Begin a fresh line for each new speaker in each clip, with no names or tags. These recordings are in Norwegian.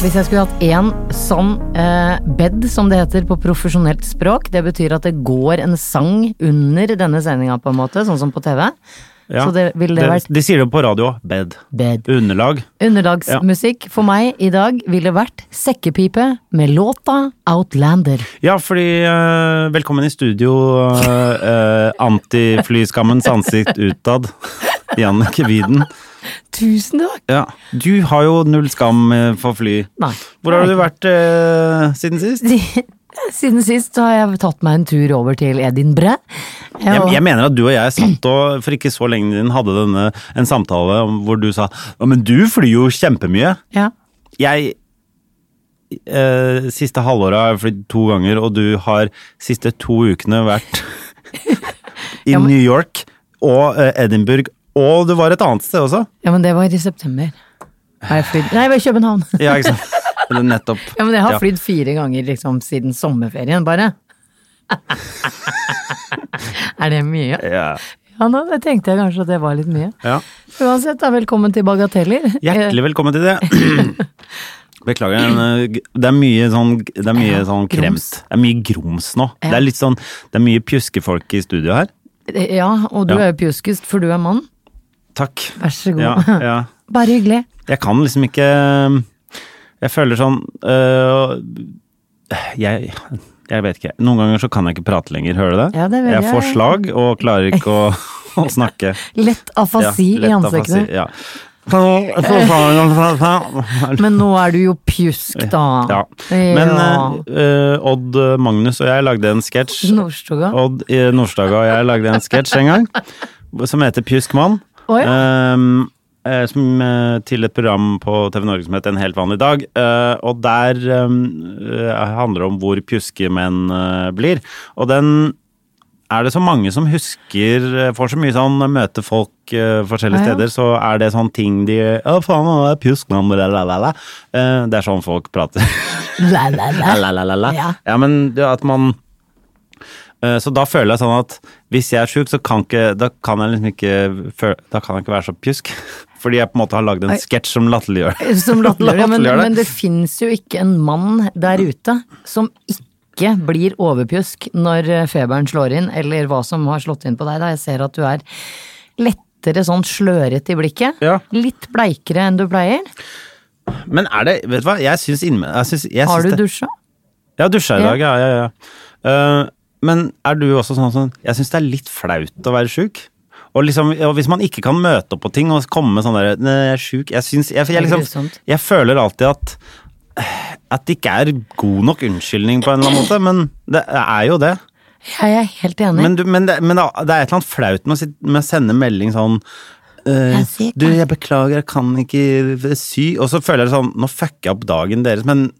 Hvis jeg skulle hatt én sånn eh, bed, som det heter på profesjonelt språk, det betyr at det går en sang under denne sendinga, på en måte, sånn som på TV.
Ja.
Så det ville det vært
de sier det på radio òg. Bed.
bed.
Underlag.
Underlagsmusikk for meg i dag ville vært sekkepipe med låta Outlander.
Ja, fordi eh, Velkommen i studio, uh, antiflyskammens ansikt utad. Jannicke Wieden.
Tusen takk!
Ja. Du har jo null skam eh, for fly.
Nei.
Hvor har du vært eh, siden sist?
Siden sist så har jeg tatt meg en tur over til Edinburgh.
Jeg, jeg mener at du og jeg satt og for ikke så lenge siden hadde denne, en samtale om, hvor du sa «Å, men du flyr jo kjempemye.
ja.
Jeg eh, Siste halvåret har jeg flydd to ganger, og du har siste to ukene vært i
Ja, men-
New York og eh, Edinburgh, og du var et annet sted også.
ja, men det var i september. Har jeg flydd Nei, det var i København.
Ja, ikke sant? Eller nettopp.
Ja, men jeg har
Ja.
flydd fire ganger liksom siden sommerferien, bare. er det mye?
Ja.
Ja, nå, det tenkte jeg kanskje at det var litt mye.
ja.
Uansett, da, velkommen til Bagateller.
Hjertelig velkommen til det. Beklager, den, eh, g- det er mye sånn, det er mye
Ja,
sånn kremt.
grums.
Det er mye grums nå. Det er litt sånn, det er mye pjuskefolk i studio her.
Eh, Ja, og du
Ja.
er jo pjuskest, for du er mann.
Takk.
Vær så god.
Ja, ja.
Bare hyggelig.
Jeg kan liksom ikke Jeg føler sånn øh, Jeg jeg vet ikke. Noen ganger så kan jeg ikke prate lenger, hører du det?
Ja, det vet
jeg
jeg.
får slag og klarer ikke å, å snakke.
Lett afasi
Ja, lett
i
afasi,
ansiktet.
Ja. Men
Men nå er du jo pjusk, da.
Ja. Men eh, eh, Odd eh, Magnus og jeg lagde en sketsj.
Nordstoga.
Odd eh, Nordstoga og jeg lagde en sketsj en gang som heter Pjuskmann.
Å, ja.
Ehm, eh, som, eh, til et program på TV Norge som heter En helt vanlig dag. Eh, og der eh, eh, handler det om hvor pjuskemenn eh, blir. Og den er det så mange som husker eh, Får så mye sånn eh, møte folk eh, forskjellige
Ja, ja.
steder, så er det sånn ting de Å, faen, han er pjuskmann, la-la-la. det er sånn folk prater.
La, la, la.
La, la, la, la.
Ja.
Ja. men det at man Eh, Så da føler jeg sånn at hvis jeg er sjuk, så kan ikke Da kan jeg liksom ikke føle, Da kan jeg ikke være så pjusk. Fordi jeg på en måte har lagd en
Oi.
sketsj som latterliggjør det.
Som latterliggjør det. Men,
Latterliggjør det.
men det fins jo ikke en mann der ute som ikke blir overpjusk når eh, feberen slår inn, eller hva som har slått inn på deg. da. Jeg ser at du er lettere sånn slørete i blikket.
Ja.
Litt bleikere enn du pleier.
Men er det Vet du hva, jeg syns innimellom jeg syns- jeg
Har
syns
du
det-
dusja?
Jeg har dusja i
Ja.
dag, ja. ja, ja. Eh, men er du også sånn som Jeg syns det er litt flaut å være sjuk. Og, liksom, og hvis man ikke kan møte opp på ting og komme med sånn derre Nei, jeg er sjuk. Jeg syns jeg, jeg,
Det er
liksom,
grusomt.
jeg føler alltid at at det ikke er god nok unnskyldning på en eller annen måte, men det er jo det.
Jeg er helt enig.
Men, du, men, det, men det er et eller annet flaut med å, sitte, med å sende melding sånn eh,
Jeg er syk,
Du,
da.
jeg beklager, jeg kan ikke sy. Og så føler jeg sånn Nå fucker jeg opp dagen deres, men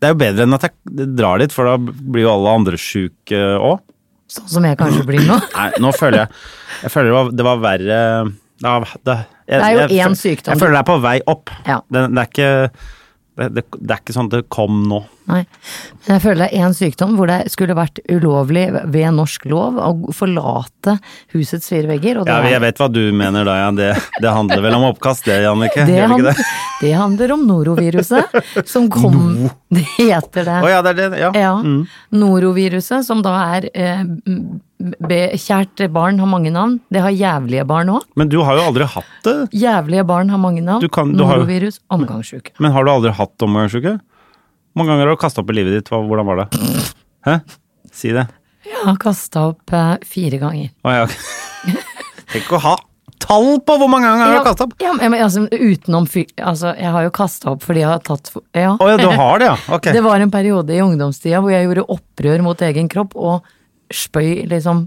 det er jo bedre enn at jeg drar dit, for da blir jo alle andre sjuke òg.
Sånn som jeg kanskje blir nå.
Nei, nå føler jeg Jeg føler det var, det var verre ja, det, jeg,
Det er jo
jeg-
én sykdom.
Jeg føler det er på vei opp.
Ja.
Det, det er ikke det, det, det er ikke sånn at det kom nå.
Nei. Men jeg føler det er én sykdom hvor det skulle vært ulovlig ved norsk lov å forlate husets fire vegger. Og det
Ja,
er-
jeg vet hva du mener da, ja. det, det handler vel om oppkast, det, Jannicke?
Det,
Gjør ikke
handler-
det?
det handler om noroviruset, som kom Det heter det.
Å ja, Mm. det er det. Ja.
Ja. Noroviruset, som da er eh, be, Kjært barn har mange navn. Det har jævlige barn òg.
Men du har jo aldri hatt det.
Jævlige barn har mange navn.
Du kan- du har jo-
Norovirus, omgangssjuke.
Men har du aldri hatt omgangsuke? Hvor mange ganger har du kasta opp i livet ditt? Hva- Hvordan var det? Hæ? Si det.
Jeg har kasta opp eh, fire ganger.
Å ja. ok. Tenk å ha tall på hvor mange ganger du har kasta opp!
Ja, men, altså, utenom fy... Altså, jeg har jo kasta opp fordi jeg har tatt for- Ja.
Å ja, du har det, ja. Ok.
Det var en periode i ungdomstida hvor jeg gjorde opprør mot egen kropp og spøy, liksom.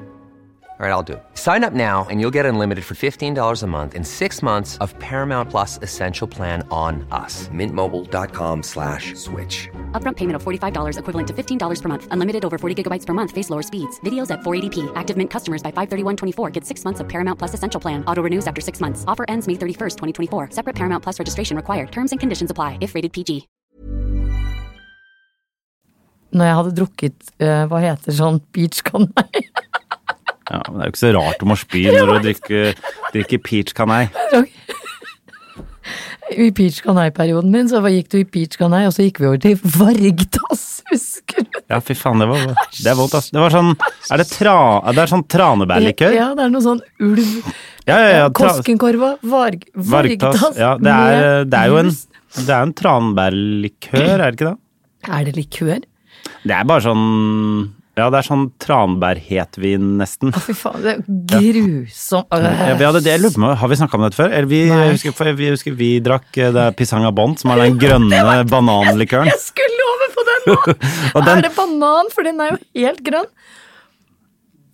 All right, I'll do it. Sign up now and you'll get unlimited for $15 a month in six months of Paramount Plus Essential Plan on us. Mintmobile.com slash switch.
Upfront payment of $45 equivalent to $15 per month. Unlimited over 40 gigabytes per month. Face lower speeds. Videos at 480p. Active Mint customers by 531.24 get six months of Paramount Plus Essential Plan. Auto renews after six months. Offer ends May 31st, 2024. Separate Paramount Plus registration required. Terms and conditions apply if rated PG.
Når jeg hadde drukket, eh, hva heter sånn, peach canai.
Ja, men det er jo ikke så rart du må spy når du drikker, drikker peach canai.
I peach canai-perioden min, så gikk du i peach canai, og så gikk vi over til vargtass, husker du?
Ja, fy faen, det var, det er vondt, ass. Det var sånn Er det, tra, det er sånn tranebærlikør?
Ja, det er noe sånn ulv.
Ja, ja, ja. Tra,
Koskenkorva, varg, vargtass.
vargtass. Ja, det er, eh,
med
det er jo en,
jus.
det er jo en tranbærlikør, er det ikke det?
Er det likør?
Det er bare sånn Ja, det er sånn tranbærhetvin, nesten.
Fy faen, det er grusomt.
Ja, vi hadde det, jeg lurer på, om- Har vi snakka om dette før? Eller vi,
Nei.
jeg husker, for vi husker vi drakk eh, det er Pisang Abant, som er den grønne bananlikøren.
Jeg skulle over på den nå!
Og den,
Er det banan? For den er jo helt grønn.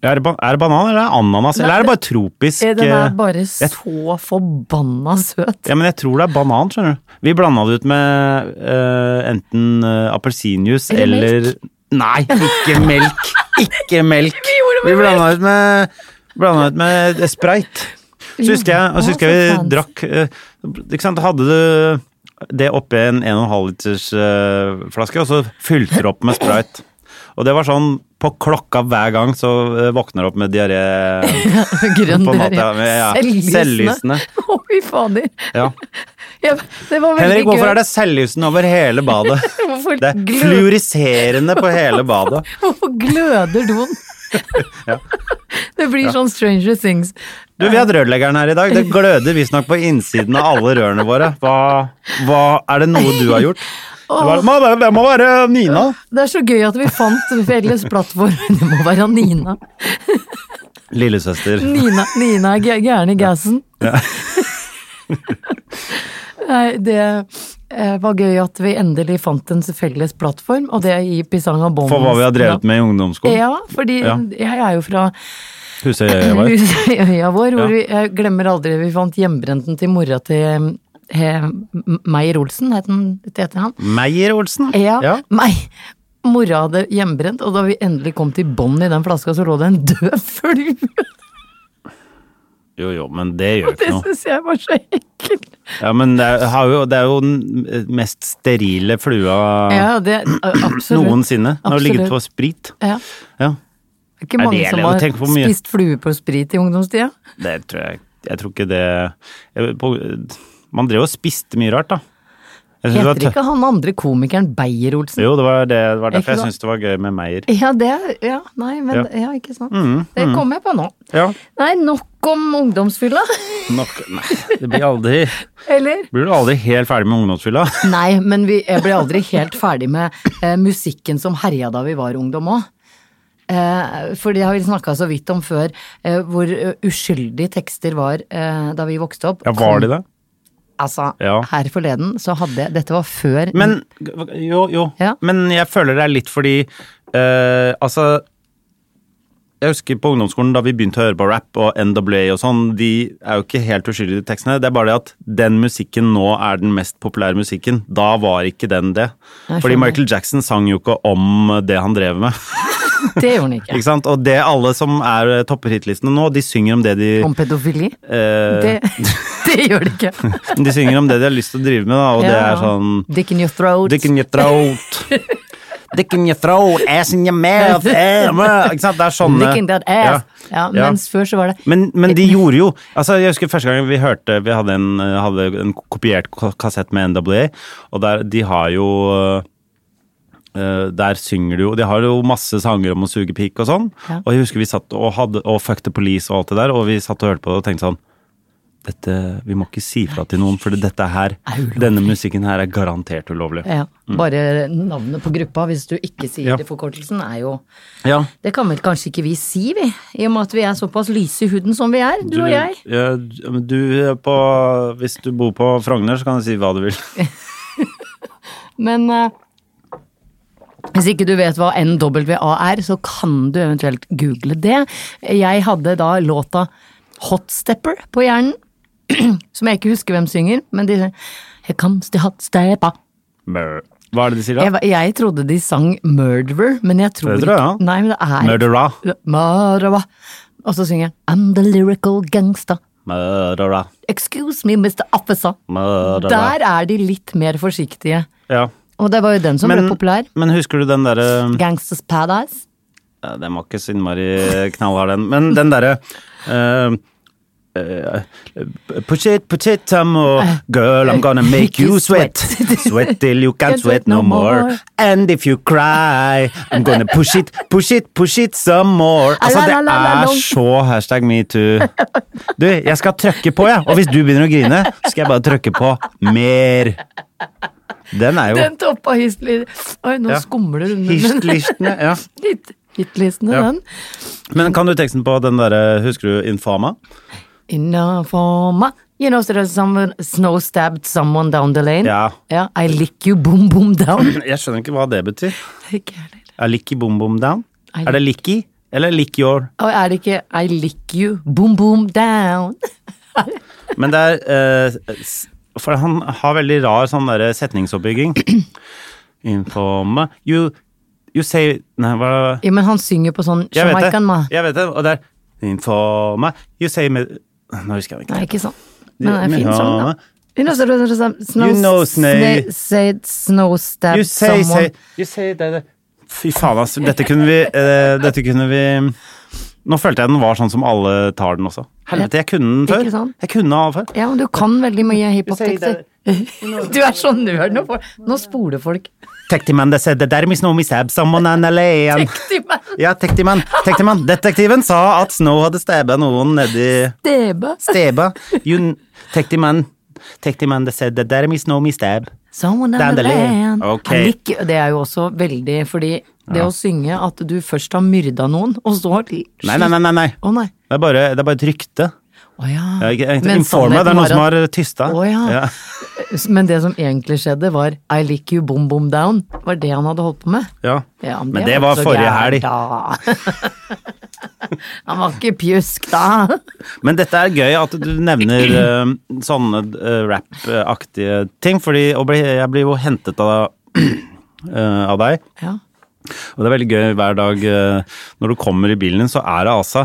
er, det, ba- er det banan, eller er det ananas? Eller er det bare tropisk
Den
eh,
er bare så forbanna søt.
Ja, men jeg tror det er banan, skjønner du. Vi blanda det ut med eh, enten eh, appelsinjuice
Eller
eller,
melk.
Nei, ikke melk! Ikke melk!
Vi gjorde det med
Vi blanda ut med, blanda ut med sprayt. Så husker jeg, og så husker
Å,
jeg
så
vi drakk eh, Ikke sant, hadde du det oppi en 1,5 liters eh, flaske, og så fylte du opp med sprayt. Og det var sånn på klokka hver gang så eh, våkner du opp med diaré.
Grønn
på en måte,
der, ja.
ja, ja.
Selvlysende.
Selvlysende.
Å, fy fader.
Ja.
Ja, det var veldig
Henrik, hvorfor
gøy.
er det selvlysende over hele badet?
Hvorfor
Det er
glø-
fluoriserende på hele badet.
Hvorfor gløder doen? Det blir sånn Stranger Things.
Du, vi hadde rørleggeren her i dag. Det gløder visstnok på innsiden av alle rørene våre. Hva, hva Er det noe du har gjort? Det var, må være- det må være Nina.
Det er så gøy at vi fant felles plattform. Det må være Nina.
Lillesøster.
Nina, Nina er gæ- gæren i gassen. Nei, det eh, var gøy at vi endelig fant en felles plattform, og det er i Pisang og Bong.
For hva vi har drevet med i ungdomsskolen.
Ja, fordi
Ja.
jeg er jo fra
Husøyøya vår.
Husøya vår, hvor
Ja.
vi, jeg glemmer aldri vi fant hjemmebrenten til mora til eh, M- Meyer-Olsen, het den- heter han.
Meyer-Olsen.
Ja,
Ja.
nei. Mora hadde hjemmebrent, og da vi endelig kom til bånn i den flaska, så lå det en død flue.
Jo, jo, men det gjør
Det
ikke noe.
syns jeg var så ekkelt.
Ja, men det er, har jo, det er jo den mest sterile flua
Ja, det absolutt.
noensinne. Når det ligget på
Absolutt.
sprit.
Ja.
Ja,
Det er ikke
Er
mange
det
som
lov å tenke på
har
mye?
spist flue på sprit i ungdomstida.
det tror jeg Jeg tror ikke det jeg, på, Man drev og spiste mye rart, da. Jeg synes det var
Heter
tø-
ikke han andre komikeren Beyer-Olsen?
Jo, det var, det, det var derfor
Ikke
jeg
sant?
syntes det var gøy med Meyer.
Ja, det er- Ja, nei, men
Ja. Mm,
ja, ikke sant. det kom jeg på nå.
Ja.
Nei, nok om ungdomsfylla.
Nok, nei, det blir aldri
Eller?
Blir du aldri helt ferdig med ungdomsfylla?
Nei, men vi, jeg ble aldri helt ferdig med eh, musikken som herja da vi var ungdom òg. Eh, for det har vi snakka så vidt om før, eh, hvor eh, uskyldige tekster var eh, da vi vokste opp.
Ja, var det det?
Altså,
Ja.
her forleden så hadde jeg Dette var før
Men jo, jo.
Ja.
Men jeg føler det er litt fordi eh, Altså Jeg husker på ungdomsskolen da vi begynte å høre på rap og NWA og sånn, de er jo ikke helt uskyldige, de tekstene. Det er bare det at den musikken nå er den mest populære musikken. Da var ikke den det.
Jeg
Fordi
skjønner.
Michael Jackson sang jo ikke om det han drev med.
Det gjorde han ikke.
Ikke sant? Og det alle som er eh, topper hitlistene nå, de synger om det de
Om pedofili.
eh,
Det, det gjør det ikke.
De synger om det de har lyst til å drive med, da, og det
Ja.
er sånn
Dick in your throat.
Dick in your throat. Dick in your throat, ass in your mouth eh, meh. Ikke sant? Det er sånne
Dick in that ass. Ja,
Ja.
mens før så var det
Men, men de gjorde jo altså Jeg husker første gang vi hørte Vi hadde en, eh, hadde en kopiert k- kassett med NWA, og der, de har jo eh, der synger de jo De har jo masse sanger om å suge pikk og sånn.
Ja.
Og jeg husker vi satt og hadde Og Fuck the Police og alt det der, og vi satt og hørte på det og tenkte sånn dette, Vi må ikke si fra til noen, for dette her,
Er ulovlig.
denne musikken her er garantert ulovlig.
ja, Bare navnet på gruppa, hvis du ikke sier
Mm. Ja.
det forkortelsen, er jo
Ja.
Det kan vel kanskje ikke vi si, vi. I og med at vi er såpass lyse i huden som vi er, du, og jeg.
Ja, du- men du eh, på, hvis du bor på Frogner, så kan du si hva du vil.
Men eh, hvis ikke du vet hva NWA er, så kan du eventuelt google det. Jeg hadde da låta Hot Stepper på hjernen, som jeg ikke husker hvem synger, men de Here comes the hot stepper.
Brr. Hva er det de sier da?
Jeg, var- jeg trodde de sang Murderer, men jeg tror
Det tror jeg, ja.
ikke Nei, men det er
Murderer.
Murderer. Og så synger jeg I'm the lyrical gangster.
Murderer.
Excuse me, Mr. Officer.
Murderer.
Der er de litt mer forsiktige.
Ja.
Og det var jo den som ble populær.
men Mm. husker du den um, derre
Gangsters Paradise.
ja, Den var ikke så innmari knallhard, den. Men den derre eh, eh, Push it, put it, tamo. Girl, I'm gonna make you sweat. Sweat till you can't sweat no more. And if you cry, I'm gonna push it, push it, push it some more. Altså, det er så hashtag metoo. Du, jeg skal trykke på, jeg. Og hvis du begynner å grine, skal jeg bare trykke på mer. Den er jo
Den toppa Hitler Oi, nå
Ja.
skumler det under den.
Hysj-listene, ja.
Hit- Hitlistene,
Ja.
den.
Men kan du teksten på den derre, husker du Infama?
Innafoma. You know, so there's someone snow stabbed someone down the lane.
Ja.
Ja, I lick you boom boom down.
Jeg skjønner ikke hva det betyr.
Ikke jeg heller.
Er licky boom boom down?
Er
Er det licky? Eller lick your?
Og er det ikke I lick you boom boom down?
Men det er eh, s- For han har veldig rar sånn derre setningsoppbygging. Infama You, you say Nei, hva
Ja, men han synger på sånn
Jeg vet det.
Jamaican ma.
Jeg vet det. Og det er Infama You say med Nå husker jeg ikke.
Nei, ikke sånn. Men det er en
Men
fin
ja.
sang, da. You know, so there's some snow,
You know,
sna-
sna-
say- snow stabbed
You say,
someone.
say, you say that, that. Fy faen, altså. Dette kunne vi eh, Dette kunne vi Nå følte jeg den var sånn som alle tar den også. Helvete, jeg kunne den
Ikke
før.
sant?
Jeg kunne av før.
Ja, men du kan veldig mye hiphop-tekster. Du er så nerd nå. for- Nå spoler folk.
Tektimann, det said that there is no mishap, someone and a lion. Ja, tektimann. Tektimann. Detektiven sa at Snow hadde stabba noen nedi
Deba.
Steba. You, tektimann. Tektimann, det said that there is no mishap.
Someone on the
Dandelion.
land.
Ok.
Jeg liker- det er jo også veldig fordi det å synge at du først har myrda noen, og så har de
Nei, nei, nei, nei. nei.
Å nei.
Det er bare, det er bare et rykte.
Å ja.
Det er ikke-
Men
Informa, det er
sannheten
noen som
var
har
at-
tysta.
Å ja.
Ja.
Men det som egentlig skjedde, var I lick you boom boom down. Var det han hadde holdt på med.
Ja.
Ja,
men
er
det var
ikke så
forrige
gærent,
helg.
da. han var ikke pjusk da.
Men dette er gøy at du nevner eh, sånne eh, rap-aktige ting, fordi å bli, jeg blir jo hentet av, eh, av deg.
Ja.
Og det er veldig gøy hver dag eh, når du kommer i bilen din, så er det altså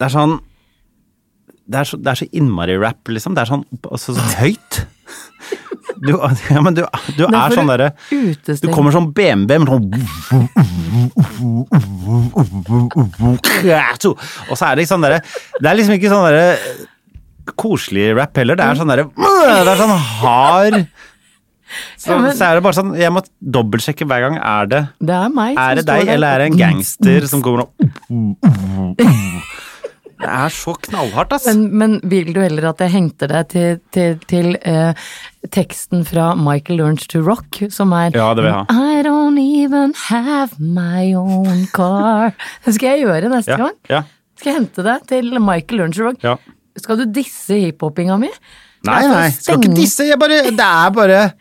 Det er sånn Det er så, det er så innmari rap, liksom. Det er sånn altså, så høyt. Du, ja, men du, du
Da får
er sånn
du
derre
utestenge.
Du kommer som BMW men
sånn
sånn Og så er det ikke sånn derre Det er liksom ikke sånn derre koselig rap heller. Det er sånn derre Det er sånn hard så,
Ja, men-
så er det bare sånn Jeg må dobbeltsjekke hver gang. Er det
Det er meg som
er det
står
deg,
der.
eller er det en gangster som kommer og Det er så knallhardt, ass.
Men, Mm. men vil du heller at jeg henter deg til, til, til eh, teksten fra Michael Learns to Rock, som er
Ja, det vil jeg ha.
I don't even have my own car. Det skal jeg gjøre neste
Ja,
gang.
ja.
Skal jeg hente deg til Michael Learns to Rock.
Ja.
Skal du disse hiphoppinga mi?
Nei, nei, skal ikke disse. Jeg bare, det er bare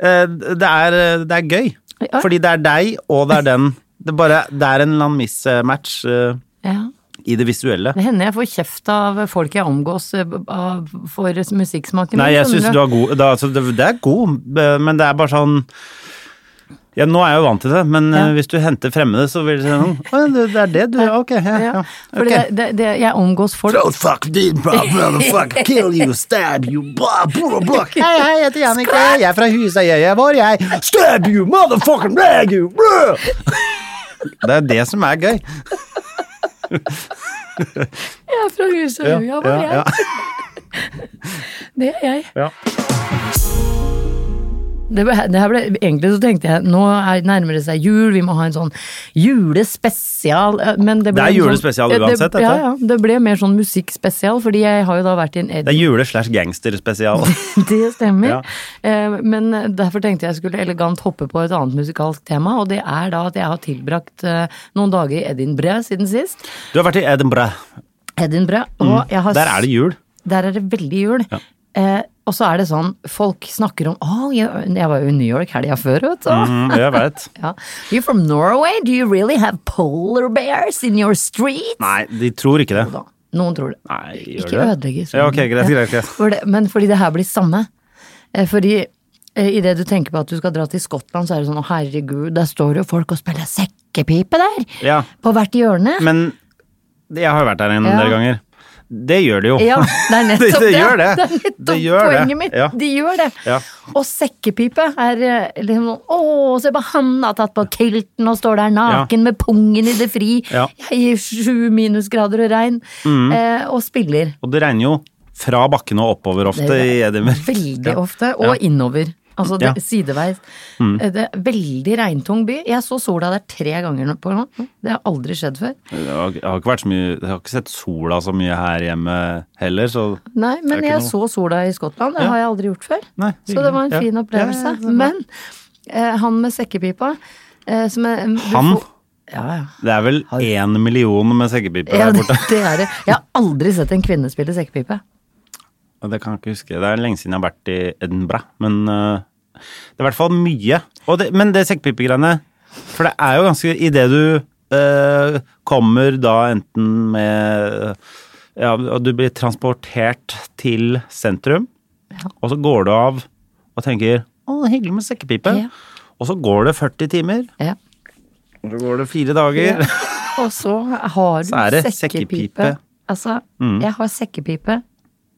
eh, det, er, det er gøy.
Ja.
Fordi det er deg, og det er den. Det, er bare, det er en eller annen mismatch eh,
Ja.
i det visuelle.
Det hender jeg får kjeft av folk jeg omgås eh, av, for musikksmaken.
Nei, jeg
skjønner
syns du er god. Det, er- altså, det, det er god, eh, men det er bare sånn Ja, nå er jeg jo vant til det, men
Ja.
eh, hvis du henter fremmede, så vil du si sånn Å ja, det- det er det du ja, Ok. Ja, ja.
Fordi
ok.
det, det, det, jeg omgås folk
Don't fuck, did bro, motherfucker, kill you, stab you, blah, blah, blah. Hei, hei, jeg heter Jannicke, jeg er fra Husøyøya vår, jeg. Stab you, motherfucker, blag you, blah. Det er det som er gøy.
Jeg er fra Husøya, ja, var jeg. Det er jeg.
ja.
det, ble, det her ble, egentlig så tenkte jeg nå er, nærmer det seg jul, vi må ha en sånn julespesial. eh, Men det, ble
Det
en
er julespesial
sånn,
uansett, dette.
Det, ja, ja, det ble mer sånn musikkspesial, fordi jeg har jo da vært i en
Det er jule-slash-gangster-spesial.
Det stemmer.
Ja.
Eh, Men derfor tenkte jeg skulle elegant hoppe på et annet musikalsk tema, og det er da at jeg har tilbrakt eh, noen dager i Edinburgh siden sist.
Du har vært i Edinburgh.
Edinburgh, og jeg har
Mm. Der er det jul.
Der er det veldig jul. Eh, og så er det sånn, folk snakker om Å, jeg, jeg var jo i New York helga før, vet du.
Mm, jeg vet.
Ja. You're from Norway? Do you really have polar bears in your street?
Nei, de tror ikke det.
Da. Noen tror det.
Nei, gjør
Ikke
det?
ødelegge
Ja, ok, greit, greit, greit.
For det, men fordi det her blir samme. Eh, Fordi eh, i det du tenker på at du skal dra til Skottland, så er det sånn å herregud, der står jo folk og spiller sekkepipe der!
Ja.
På hvert hjørne.
Men jeg har jo vært der en
Ja.
del ganger. Det gjør det jo.
ja, det er nettopp
Det- det gjør det.
Det er nettopp
Det gjør det.
poenget mitt.
Ja.
De gjør det.
Ja.
Og sekkepipe er eh, liksom sånn Å, se på han har tatt på kilten og står der naken med pungen i det fri
Ja. Mm.
i sju minusgrader og regn, eh, og spiller.
Og det regner jo fra bakken og oppover ofte
Det-
i Edinburgh.
Veldig
Ja.
ofte, og innover. Altså det,
Ja. Mm.
sideveis. Eh, Det er veldig regntung by. Jeg så sola der tre ganger nå- på nå. Det har aldri skjedd før.
Jeg har, jeg har ikke vært så mye Jeg har ikke sett sola så mye her hjemme heller, så
Nei, men
Det er
jeg
ikke noe-
så sola i Skottland. Det har jeg aldri gjort før.
Nei,
så det var en
hyggelig.
fin
Ja.
opplevelse.
Ja, ja, det er bra.
men eh, han med sekkepipa eh, som er, du
Han?
får- Ja, ja.
Det er vel én million med sekkepipe
Ja,
der
det,
borte.
det er det. Jeg har aldri sett en kvinne spille sekkepipe.
Og Det kan jeg ikke huske. Det er lenge siden jeg har vært i Edinburgh, men eh, det er i hvert fall mye. Og det, men det sekkepipegreiene For det er jo ganske Idet du eh, kommer da enten med Ja, og du blir transportert til sentrum, og så går du av og tenker Å, det er hyggelig med sekkepipe.
Ja.
Og så går det 40 timer,
Ja.
og så går det fire dager.
Og så har du
Så er det
sekkepipe.
sekkepipe. Mm.
Altså, jeg har sekkepipe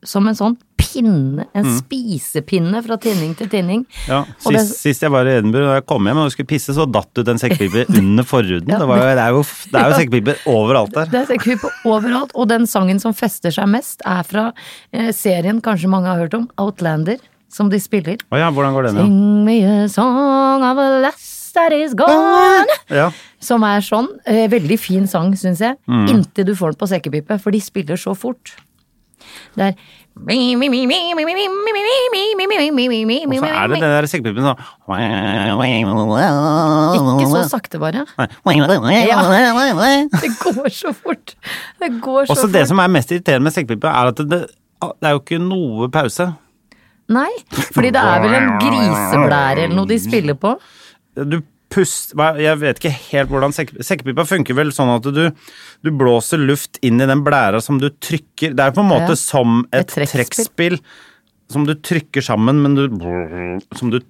som en sånn pinne, en spisepinne fra tinning til tinning.
Mm. Ja,
Og det-
sist, sist jeg var i Edinburgh, da jeg kom hjem og skulle pisse, så datt det ut en sekkepipe under forhuden.
Ja,
det, var, jo- det er jo, det er jo sekkepiper overalt der.
Det er sekkepipe overalt, og den sangen som fester seg mest, er fra eh, serien kanskje mange har hørt om, Outlander, som de spiller.
Å ja, hvordan går den igjen?
Sing me a song of a lass that is gone.
Ja.
Som er sånn. Eh, veldig fin sang, syns jeg.
Mm.
Inntil du får den på sekkepipe, for de spiller så fort. Det er
Og så er det
Ikke
den der sekkepipen sånn
så sakte, bare. Det går så fort. Det går så
Også
fort.
det som er mest irriterende med sekkepipe, er at det, det er jo ikke noe pause.
Nei, fordi det er vel en griseblære eller noe de spiller på.
du pust, hva- jeg vet ikke helt hvordan sekke, sekkepipa funker vel sånn at du, du blåser luft inn i den blæra som du trykker. Det er jo på en måte
Ja.
som et,
Et trekkspill.
trekkspill som du trykker sammen, men du Som du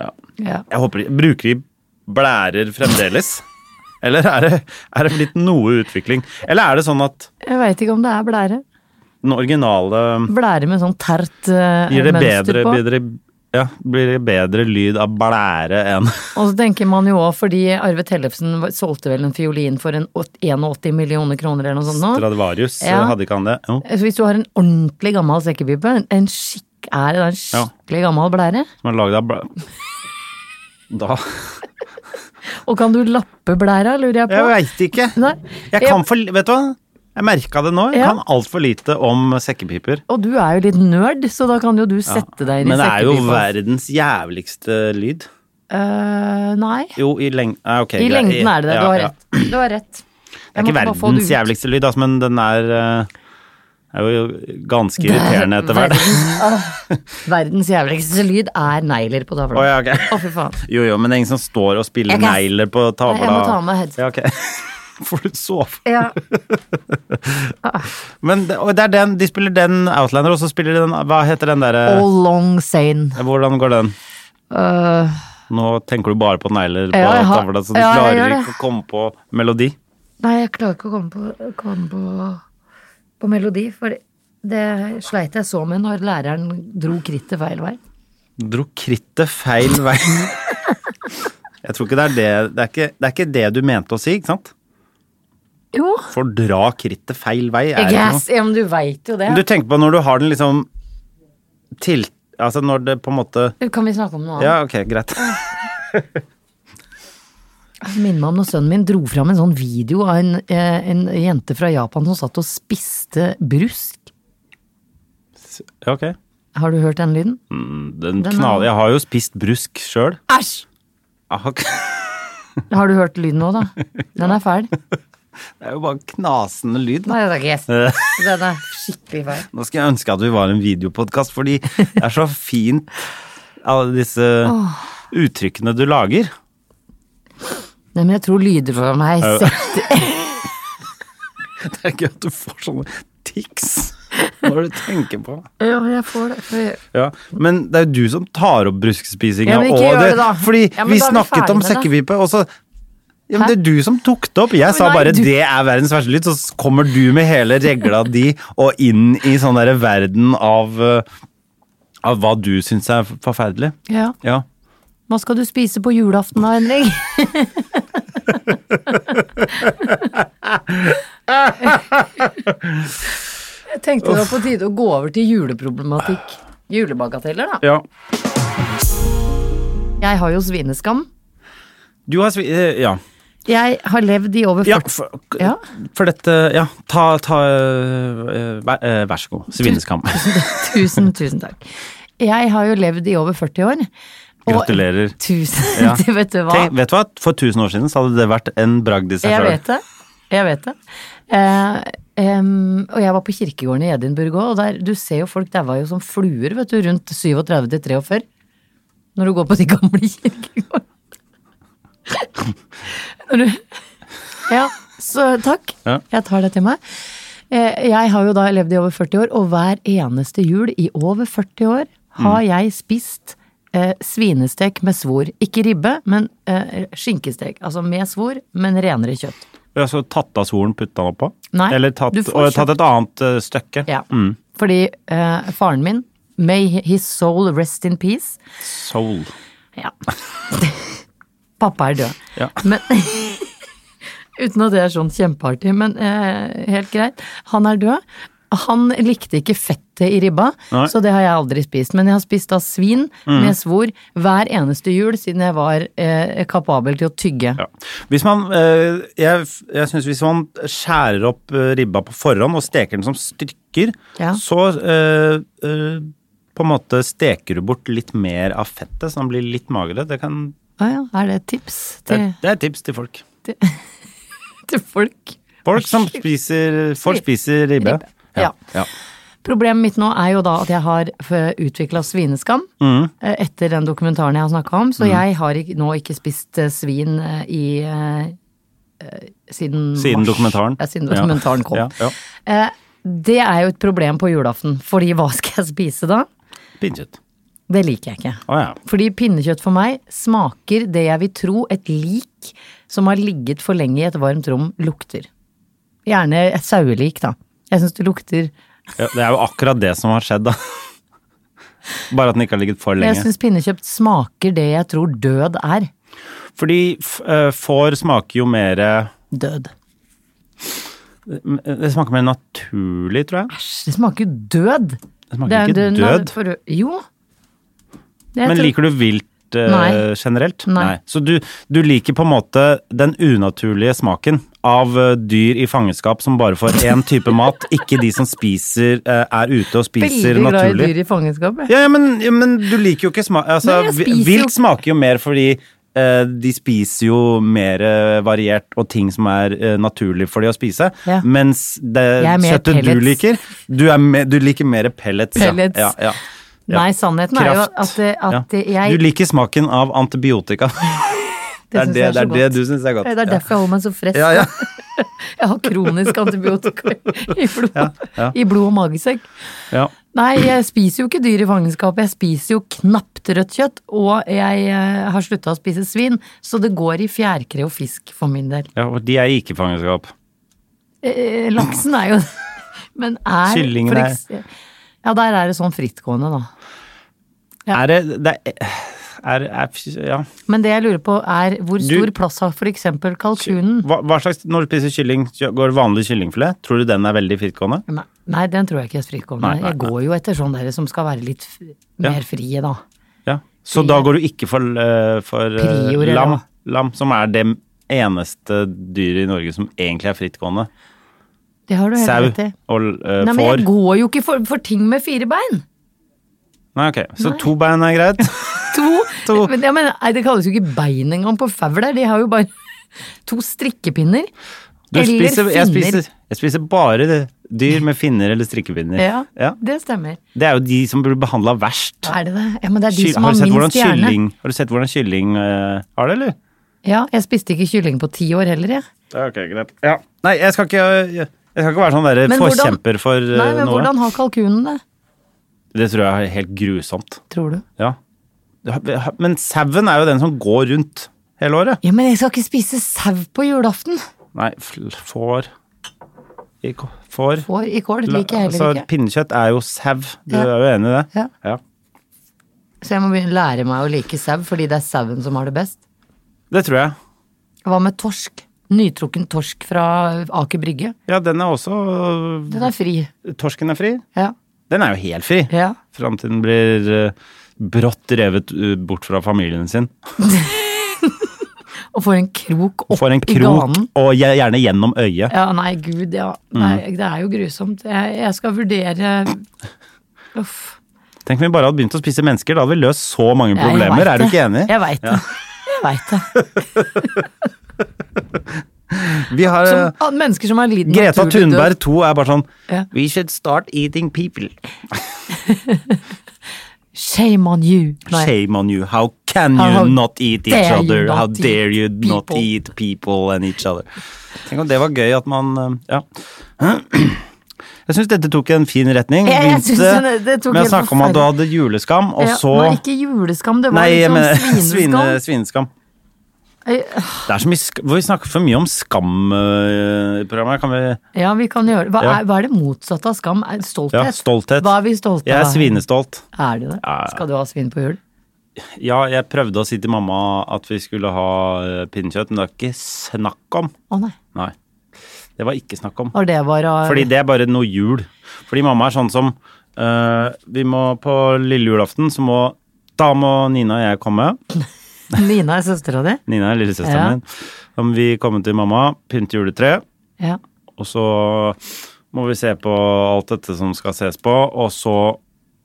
Ja.
Jeg håper de Bruker de blærer fremdeles? Eller er det, er det blitt noe utvikling? Eller er det sånn at
Jeg veit ikke om det er blære.
den originale
Blære med sånn tert eh,
gir det
mønster
bedre,
på.
bedre ja, blir det bedre lyd av blære enn
Og så tenker man jo òg, fordi Arve Tellefsen var- solgte vel en fiolin for en åt- 81 millioner kroner eller noe sånt nå.
Stradivarius?
Ja.
Hadde ikke han det? Jo.
Så hvis du har en ordentlig gammel sekkepipe, en- en skikk, er det da en skikkelig gammel blære?
som er lagd av bla... Da
Og kan du lappe blæra, lurer jeg på?
Jeg veit ikke.
Nei.
Jeg kan for li- Vet du hva? Jeg merka det nå. Jeg
Ja.
kan altfor lite om sekkepiper.
Og du er jo litt nerd, så da kan jo du sette deg inn i
Men det er jo
sekkepipa.
verdens jævligste lyd.
Eh, nei.
Jo, i lengden ah, ok,
I
greit.
lengden er det det.
Ja,
Du har
ja.
rett. Du har rett.
Det er ikke verdens jævligste lyd, altså, men den er eh, er jo ganske irriterende etter hvert.
Verdens jævligste lyd er negler på tavla.
Å ja, ok.
Å, fy faen.
Jo, jo, men det er ingen som står og spiller
Jeg kan-
negler på tavla.
Nei, jeg må ta av meg headset.
Ja, ok. Får du sove?
Ja.
Men det, og det er den, de spiller den Outlander, og så spiller de eh, den Hva heter den derre
All long sane.
Hvordan går den?
Øh,
Nå tenker du bare på negler på
Ja, jeg har-
tavla, så du
ja, jeg
klarer
gjør
ikke å komme på melodi.
Nei, jeg klarer ikke å komme på, komme på, på melodi, for det sleit jeg så med når læreren
Dro krittet feil vei.
Dro krittet feil vei. Jeg tror ikke det er det det er ikke, det er ikke det du mente å si, ikke sant?
Jo.
For dra krittet feil vei er ikke noe.
Yes, ja, men du veit jo det.
Men Du tenker på når du har den liksom til... Altså når det på en måte
kan vi snakke om noe annet?
Ja, ok, greit.
Minner meg om når sønnen min dro fram en sånn video av en, eh, en jente fra Japan som satt og spiste brusk.
Ja, ok.
Har du hørt den lyden?
Den
Den er-
knall... Jeg har jo spist brusk sjøl.
Æsj!
Det
Har du hørt lyden nå, da? Den er fæl.
er jo bare knasende lyd. da.
Nei, det er ikke yes. Den er skikkelig feil.
Nå skulle jeg ønske at vi var en videopodkast, fordi det er så fint alle disse uttrykkene du lager.
Nei, men jeg tror lyder for meg
Au.
setter
Det er gøy at du får sånne tics når du tenker på det.
Ja, jeg får det. For jeg-
Ja, men det er jo du som tar opp bruskespisinga.
Ja, men ikke
og
gjør det da.
Fordi
Ja, men da er
vi
vi
snakket
ferdig
om
med det.
sekkepipe, og så ja, men
Hæ?
Det er du som tok det opp. Jeg sa
nei,
bare
du-
'det er verdens verste lyd', så s- kommer du med hele regla di og inn i sånn derre verden av eh, Av hva du syns er forferdelig.
Ja.
Ja.
Hva skal du spise på julaften da, Henrik? jeg tenkte det var på tide å gå over til juleproblematikk. Julebagateller, da.
ja.
Jeg har jo svineskam.
Du har svi... eh, Ja.
Jeg har levd i over 40
Ja, for,
Ja.
for dette Ja, ta, ta eh, vær, eh, Vær så god. Svineskam.
Tusen, tusen takk. Jeg har jo levd i over 40 år. og-
Gratulerer.
Tusen,
Ja.
vet du hva.
Tenk, vet du hva? For 1000 år siden så hadde det vært en bragd i seg
Jeg
sjøl.
vet det. Jeg vet det. Eh, em, og jeg var på kirkegården i Edinburgh òg, og der, du ser jo folk daua jo som fluer vet du, rundt 37 til 43. Når du går på de gamle kirkegårdene. Når du Ja, så takk.
Ja.
Jeg tar det til meg. Eh, Jeg har jo da levd i over 40 år, og hver eneste jul i over 40 år har jeg spist eh, svinestek med svor. Ikke ribbe, men eh, skinkestek. Altså med svor, men renere kjøtt.
Ja, så tatt av solen, putta den oppå?
Nei,
Eller tatt,
du får
og, tatt
kjøpt-
et annet eh, stykke?
Ja. Fordi eh, faren min, may his soul rest in peace,
Soul.
Ja. Pappa er død.
Ja.
Men Uten at det er sånn kjempeartig, men eh, helt greit. Han er død. Han likte ikke fettet i ribba,
Nei. Mm.
så det har jeg aldri spist. Men jeg har spist da svin med svor hver eneste jul siden jeg var eh, kapabel til å tygge.
Ja. Hvis man, eh, jeg jeg syns hvis man skjærer opp eh, ribba på forhånd og steker den som stykker,
Ja.
så eh, eh, på en måte steker du bort litt mer av fettet, så den blir litt magrere. Det, kan,
Å Ah, ja, er det et tips
det,
til,
det er et tips til folk.
til folk?
Folk som spiser, folk spiser ribbe.
Ribbe, ja.
ja.
Problemet mitt nå er jo da at jeg har utvikla svineskam
Mm.
eh, etter den dokumentaren jeg har snakka om, så jeg har ikke, nå ikke spist eh, svin eh, i eh, eh, siden,
Siden
mars.
dokumentaren.
Ja, siden dokumentaren kom.
Ja, ja.
Eh, det er jo et problem på julaften, fordi hva skal jeg spise da?
Pinnekjøtt.
Det liker jeg ikke.
Å ja.
Fordi pinnekjøtt for meg smaker det jeg vil tro et lik som har ligget for lenge i et varmt rom, lukter. Gjerne et sauelik, da. Jeg syns det lukter
ja. Det er jo akkurat det som har skjedd, da. Bare at den ikke har ligget for
Jeg
lenge.
syns pinnekjøtt smaker det jeg tror død er.
Fordi f- eh, får smaker jo mer eh,
Død.
Det smaker mer naturlig, tror jeg.
Æsj, det smaker jo død!
Det
Det
smaker
er-
ikke
det- nei,
død.
for- jo. Det
Men
tror-
liker du vilt eh,
Nei.
generelt?
Nei.
Så du, du liker på en måte den unaturlige smaken av eh, dyr i fangenskap som bare får én type mat, ikke de som spiser, eh, er ute og spiser
Veldig glad i
naturlig.
dyr i fangenskap. jeg.
Ja, ja, men, ja, men du liker jo ikke smak... Altså,
Nei, jeg
vi-
spiser jo-
vilt smaker jo mer fordi eh, de spiser jo mer eh, variert og ting som er eh, naturlig for de å spise.
Ja.
Mens det
Jeg er mer
kjøttet du
pellets.
liker, du, er me, du liker mer pellets. ja.
Pellets.
Ja, ja, ja.
Nei, sannheten er jo at, det- at det-
ja.
jeg
Du liker smaken av antibiotika. Det er
synes
det,
jeg er
det,
så
er det
godt.
du syns er godt.
Det er derfor jeg holder meg så frisk.
Ja, ja.
Jeg har kronisk antibiotika i blod,
ja.
i blod og magesekk.
ja.
Nei, jeg spiser jo ikke dyr i fangenskap. Jeg spiser jo knapt rødt kjøtt. Og jeg eh, har slutta å spise svin, så det går i fjærkre og fisk for min del.
Ja, og de er ikke i fangenskap.
Eh, laksen er jo Men er
Kyllingen
for
er-
eks- Ja, der er det sånn frittgående, da. Ja.
Er det, det er, er, er, ja.
Men det jeg lurer på er hvor
Du-
stor plass har for eksempel kalkunen?
hva, hva slags, Når du spiser kylling, kjø- går vanlig kyllingfilet? Tror du den er veldig frittgående?
Nei, nei, den tror jeg ikke er frittgående.
Nei, nei,
Jeg går jo etter sånne der som skal være litt f mer frie, da.
Ja. Så da går du ikke for, eh, for eh,
Prior, eller
lam,
hva?
lam, som er det eneste dyret i Norge som egentlig er frittgående.
Det har du helt
Sau
rett i.
og eh,
Nei, men
får.
jeg går jo ikke for, for ting med fire bein!
Nei, ok. Så to bein er greit.
To!
To.
Men, ja, men, nei, det kalles jo ikke bein engang på fauler, de har jo bare to strikkepinner.
Du
Eller
spiser, jeg,
finner.
spiser, jeg spiser bare det- dyr med finner eller strikkepinner.
Ja, det stemmer.
Det er jo de som blir behandla verst.
Er det det? Ja, men det er de
Kyll-
som
har,
har,
du sett hvordan
minst hjerne.
kylling, har du sett hvordan kylling eh, har det, eller?
Ja, jeg spiste ikke kylling på ti år heller, jeg.
Ja, ok, greit. Ja. Nei, jeg skal ikke, jeg skal ikke være sånn der
Men hvordan-
forkjemper for eh,
Nei, men
noe.
hvordan har kalkunen det?
Det tror jeg er helt grusomt.
Tror du?
Ja. Men sauen er jo den som går rundt hele året.
Ja, men jeg skal ikke spise sau på julaften.
Nei, fl- får Ikke- Får.
Får i kål, det liker jeg
Altså,
heller ikke.
pinnekjøtt er jo sau. Du
Ja.
er jo enig i det?
Ja. Så jeg må begynne å lære meg å like sau, fordi det er sauen som har det best.
Det tror jeg.
Hva med torsk? Nytrukken torsk fra Aker Brygge.
Ja, den er også
Den er fri.
Torsken er fri.
Ja.
Den er jo helt fri.
ja.
Fram til den blir eh, brått revet eh, bort fra familien sin.
Og får en krok opp
Får
i
en krok, Mm.
ganen.
og gje- gjerne gjennom øyet.
Ja, nei, gud, ja. Nei, det er jo grusomt. Jeg, jeg skal vurdere Uff.
Tenk om vi bare hadde begynt å spise mennesker, da hadde vi løst så mange
Ja, jeg
problemer.
vet
Er du
det.
ikke enig?
Jeg veit det. Jeg vet det.
Vi har eh,
Som, mennesker som har lidd
Greta
naturlig død.
Thunberg 2 er bare sånn
Ja.
We should start eating people.
Shame on you. Nei.
Shame on you. How can you
How- how
not eat each
dare you
other?
not
How
eat
dare you not
people?
eat people and each other? Tenk om det var gøy at man eh, Ja. Jeg syns dette tok en fin retning.
Ja, jeg synes
Begynte
det- det tok
med å
helt
snakke om at du
forferdelig.
hadde juleskam, og
Ja,
så
Nei, ikke juleskam, det var
Nei, jeg
liksom
mener svine,
svineskam.
svineskam.
Eh,
Det er så mye sk Vi snakker for mye om skam eh, i programmet. Kan vi
Ja, vi kan gjøre det. Hva,
Ja.
er, hva er det motsatte av skam? Er- Stolthet?
Ja, stolthet.
Hva er vi stolte av?
Jeg er svinestolt.
Er du det?
Ja, ja.
Skal du ha svin på jul?
Ja, jeg prøvde å si til mamma at vi skulle ha eh, pinnekjøtt, men det var ikke snakk om.
Å nei.
Nei. Det var ikke snakk om.
Var det bare
Fordi det er bare noe jul. Fordi mamma er sånn som eh, Vi må på lille julaften, så må Da må Nina og jeg komme.
Nina er søstera di?
Nina er lillesøsteren
Ja.
min. Da må vi komme til mamma, pynte juletre,
Ja.
og så må vi se på alt dette som skal ses på, og så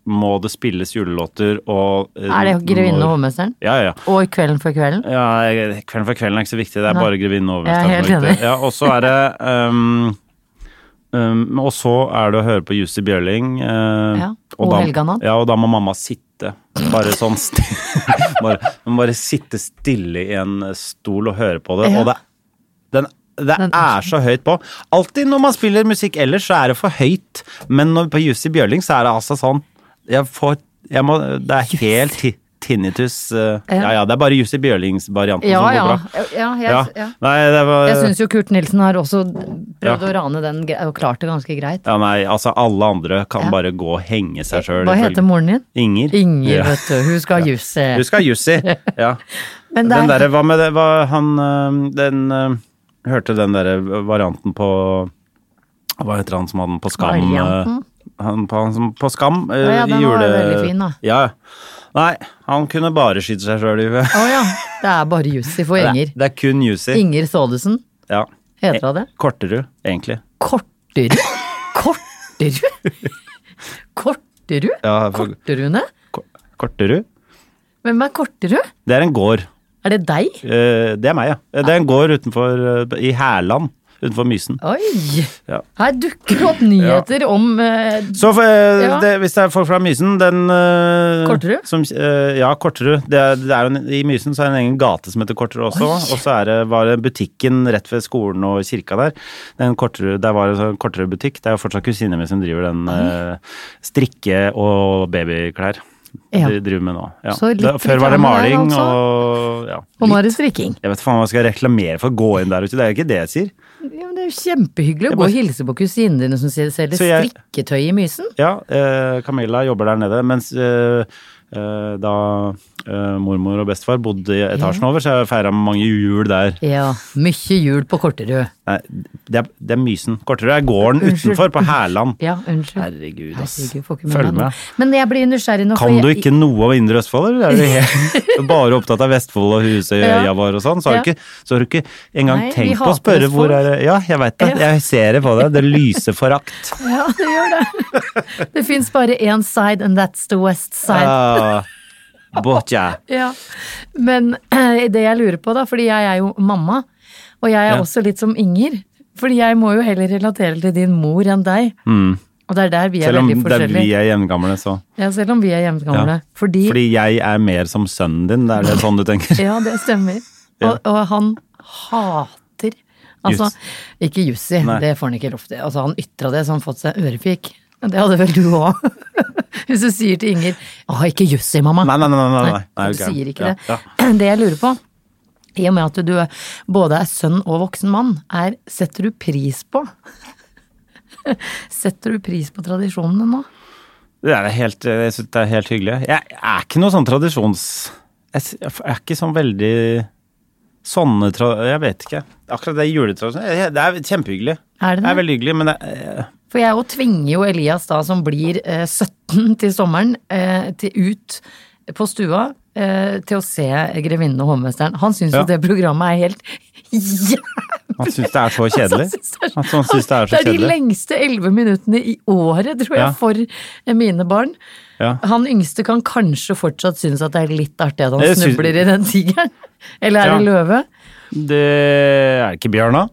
må det spilles julelåter og eh,
Er det Grevinnen
når-
og hovmesteren?
Ja, ja, ja.
Og Kvelden før kvelden?
Ja, jeg- Kvelden for kvelden er ikke så viktig, det er
Nei.
bare grevinnen og
Jeg er helt
overmesteren som er viktig.
enig.
Ja, og så er det ehm, ehm, Og så er det å høre på Jussi Bjørling. eh,
Ja, og
da-
Helga Natt.
Ja, og da må mamma sitte. Bare sånn sti- bare, Hun må bare sitte stille i en stol og høre på det.
Ja.
Og det, den, det
Den er
er så høyt på. Alltid når man spiller musikk ellers, så er det for høyt. Men når, på Jussi Bjørling så er det altså sånn Jeg får jeg må, Det er helt ti- tinnitus. eh,
Ja.
ja, ja, det er bare Jussi Bjørlings-varianten
Ja,
som
ja.
går bra.
ja,
Ja.
jeg, ja.
Nei, det var
jeg syns jo Kurt Nilsen har også
Ja.
prøvd å rane den gre- og klart det ganske greit.
ja, nei, altså alle andre kan
Ja. Eh,
bare gå og henge seg sjøl.
Hva heter moren din?
Inger.
Inger,
Ja.
vet du. Hun skal ha juss. eh.
Du skal ha Jussi. Ja.
Men det
Den
er-
derre, hva med det, hva han øhm, Den øhm, Hørte den derre varianten på Hva heter han som hadde den på Skam? øh,
Varianten?
Han, på, han som på Skam øh,
ja, den
i
var
jule...
veldig fin, da.
Ja. Nei, han kunne bare skyte seg sjøl i huet.
Å ja. Det er bare Jussi for
Det,
Inger.
er- det er kun Jussi.
Inger Saadesen,
Ja.
heter hun det?
Korterud, egentlig.
Korterud? Korterud? Korterud?
Ja, for-
Korterune?
Ko- Korterud?
Hvem er Korterud?
Det er en gård.
Er det deg?
Eh, Det er meg, ja. Det er en gård utenfor eh, I Hærland. utenfor Mysen.
Oi!
Ja.
Her dukker det opp nyheter om eh,
Så for, eh,
Ja.
det, hvis det er folk fra Mysen den, eh,
Korterud?
Som, eh, ja, Korterud. Det er, det er jo en, I Mysen så er det en egen gate som heter Korterud også. Og så er det, var det butikken rett ved skolen og kirka der. Den Korterud, der var det en sånn Korterud-butikk. Det er jo fortsatt kusina mi som driver den. eh, strikke og babyklær.
Ja.
De driver med nå. Ja.
Så litt
Det- Før var det
reklame der,
maling
altså.
og ja.
Og nå
litt.
er det strikking.
Jeg vet faen hva jeg skal reklamere for å gå inn der ute, det er jo ikke det jeg sier.
Ja, men det er jo kjempehyggelig å gå
Jeg bare-
og hilse på kusinene dine som sier- selger
Så jeg-
strikketøy i Mysen.
Ja, eh, Camilla jobber der nede, mens eh, eh, da eh, mormor og bestefar bodde i etasjen over, så jeg feira mange jul der.
Ja, mye jul på Korterud.
Nei, det er, det er Mysen. Korterud er gården utenfor, på Hærland.
Ja, unnskyld.
Herregud, ass.
Herregud, får ikke med
Følg
meg nå.
med.
Men jeg blir nysgjerrig nå. for
Kan du
jeg-
ikke noe av Indre Østfold, eller? Er du helt- bare opptatt av Vestfold og Husøy og
Ja.
øya vår og sånn? Så har du
Ja.
ikke, så har du ikke engang
Nei, vi
tenkt på å
hater
spørre hvor
Østfold.
er det Ja, jeg veit det.
Ja.
Jeg ser det på deg. Det lyser forakt.
Ja, det gjør det. Det fins bare én side, and that's the west side.
Ah, Botja.
Ja. Men eh, det jeg lurer på, da, fordi jeg er jo mamma, og jeg er
Ja.
også litt som Inger. Fordi jeg må jo heller relatere til din mor enn deg. Og det er der vi er
Mm. Selv om
veldig
det er vi
forskjellige.
er jevngamle, så
Ja, selv om vi er jevngamle.
Ja.
Fordi,
Fordi jeg er mer som sønnen din, det er det sånn du tenker?
Ja, det stemmer.
Ja.
Og, og han hater Altså,
Juss.
ikke Jussi,
Nei.
det får han ikke lov til. Altså, han ytra det så han fått seg ørefik. Det hadde vel du òg. Hvis du sier til Inger 'Å, ikke Jussi, mamma'.
Nei, nei, nei. nei, nei, nei.
du
ok.
sier ikke
Ja,
det.
ja.
Det jeg lurer på, i og med at du både er sønn og voksen mann, er setter du pris på Setter du pris på tradisjonene nå?
Det er helt, jeg synes det er helt hyggelig. Jeg er ikke noe sånn tradisjons... Jeg s- jeg er ikke sånn veldig sånne tra... Jeg vet ikke. Akkurat det juletradisjonen Det er kjempehyggelig.
Er det
Det er
det?
veldig hyggelig, men det er
For jeg òg tvinger jo Elias da, som blir eh, 17 til sommeren, eh, til ut på stua eh, til å se Grevinnen og hovmesteren. Han syns
Ja.
jo det programmet er helt jævlig!
Han syns det er så kjedelig.
Han
At han synes det er så
det er de
kjedelig.
lengste elleve minuttene i året, tror jeg,
Ja.
for eh, mine barn.
Ja.
Han yngste kan kanskje fortsatt synes at det er litt artig at han
Jeg synes-
snubler i den tigeren. Eller er det
Ja.
løve?
Det er ikke bjørn, da?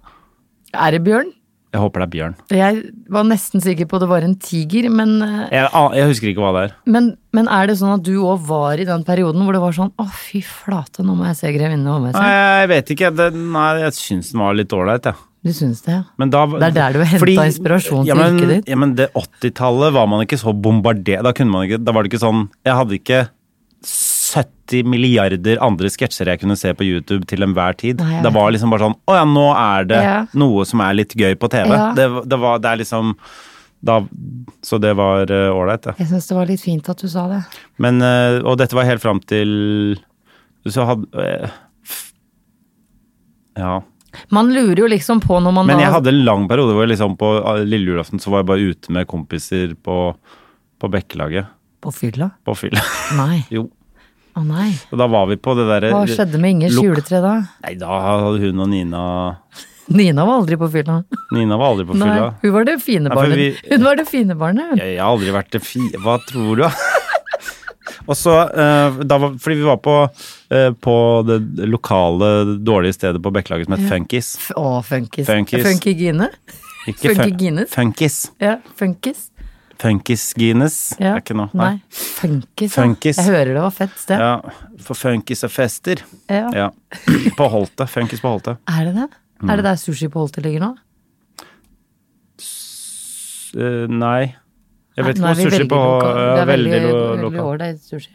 Er det bjørn?
Jeg håper det er bjørn.
Jeg var nesten sikker på det var en tiger, men, eh,
Jeg, an- jeg husker ikke hva det er.
men, men er det sånn at du òg var i den perioden hvor det var sånn å fy flate, nå må jeg se Grevinnen og
Nei,
hovmesteren?
jeg vet ikke. Det, nei, jeg syns den var litt ålreit, jeg. Ja.
Du syns det, ja?
Men da,
Det er der du har hentet
fordi-
inspirasjon til
ja, men,
yrket ditt.
Ja, men det 80-tallet var man ikke så bombardert. Da, kunne man ikke, da var det ikke sånn Jeg hadde ikke 70 milliarder andre sketsjer jeg kunne se på YouTube til enhver tid.
Nei, jeg
det
vet
var liksom bare sånn Å ja, nå er det
Ja.
noe som er litt gøy på TV.
Ja.
Det, det var Det er liksom da, Så det var eh, ålreit, det.
Jeg syns det var litt fint at du sa det.
Men, eh, og dette var helt fram til Så hadde eh, f- Ja.
Man lurer jo liksom på når man
Men jeg
har-
hadde en lang periode hvor jeg liksom på eh, lille julaften så var jeg bare ute med kompiser på, på Bekkelaget.
På fylla?
På fylla.
Nei.
jo.
Å nei.
Og da var vi på det derre
Hva skjedde med Ingers
Lok-
juletre da?
Nei, da hadde hun og Nina
Nina var aldri på fylla.
Nina var aldri på
Nei,
fylla.
hun var det fine
Nei, for
barnet.
vi-
Hun var det fine barnet, hun.
Jeg, jeg har aldri vært til fi... Hva tror du? og så eh, da var, Fordi vi var på, eh, på det lokale dårlige stedet på Bekkelaget som het Funkis.
F- Å, funkis.
Funkis.
Funky Gine.
Ikke fun-
Funkygines?
Funkis.
Ja, funkis.
Funkis-Gines.
Ja.
Er ikke noe.
Nei. Funkis, ja.
Funkis.
Jeg hører det var fett sted.
Ja, for funkis og fester.
Ja.
Ja. Mm. På Holte. Funkis på Holte.
Er det det? Er det der sushi på Holte ligger nå?
Eh, nei. Jeg vet ikke
Nei, nå
hvor
er vi
sushi på
veldig loka-
ja,
Det er veldig,
Veldig lo-
veldig
lokal.
ålreit sushi.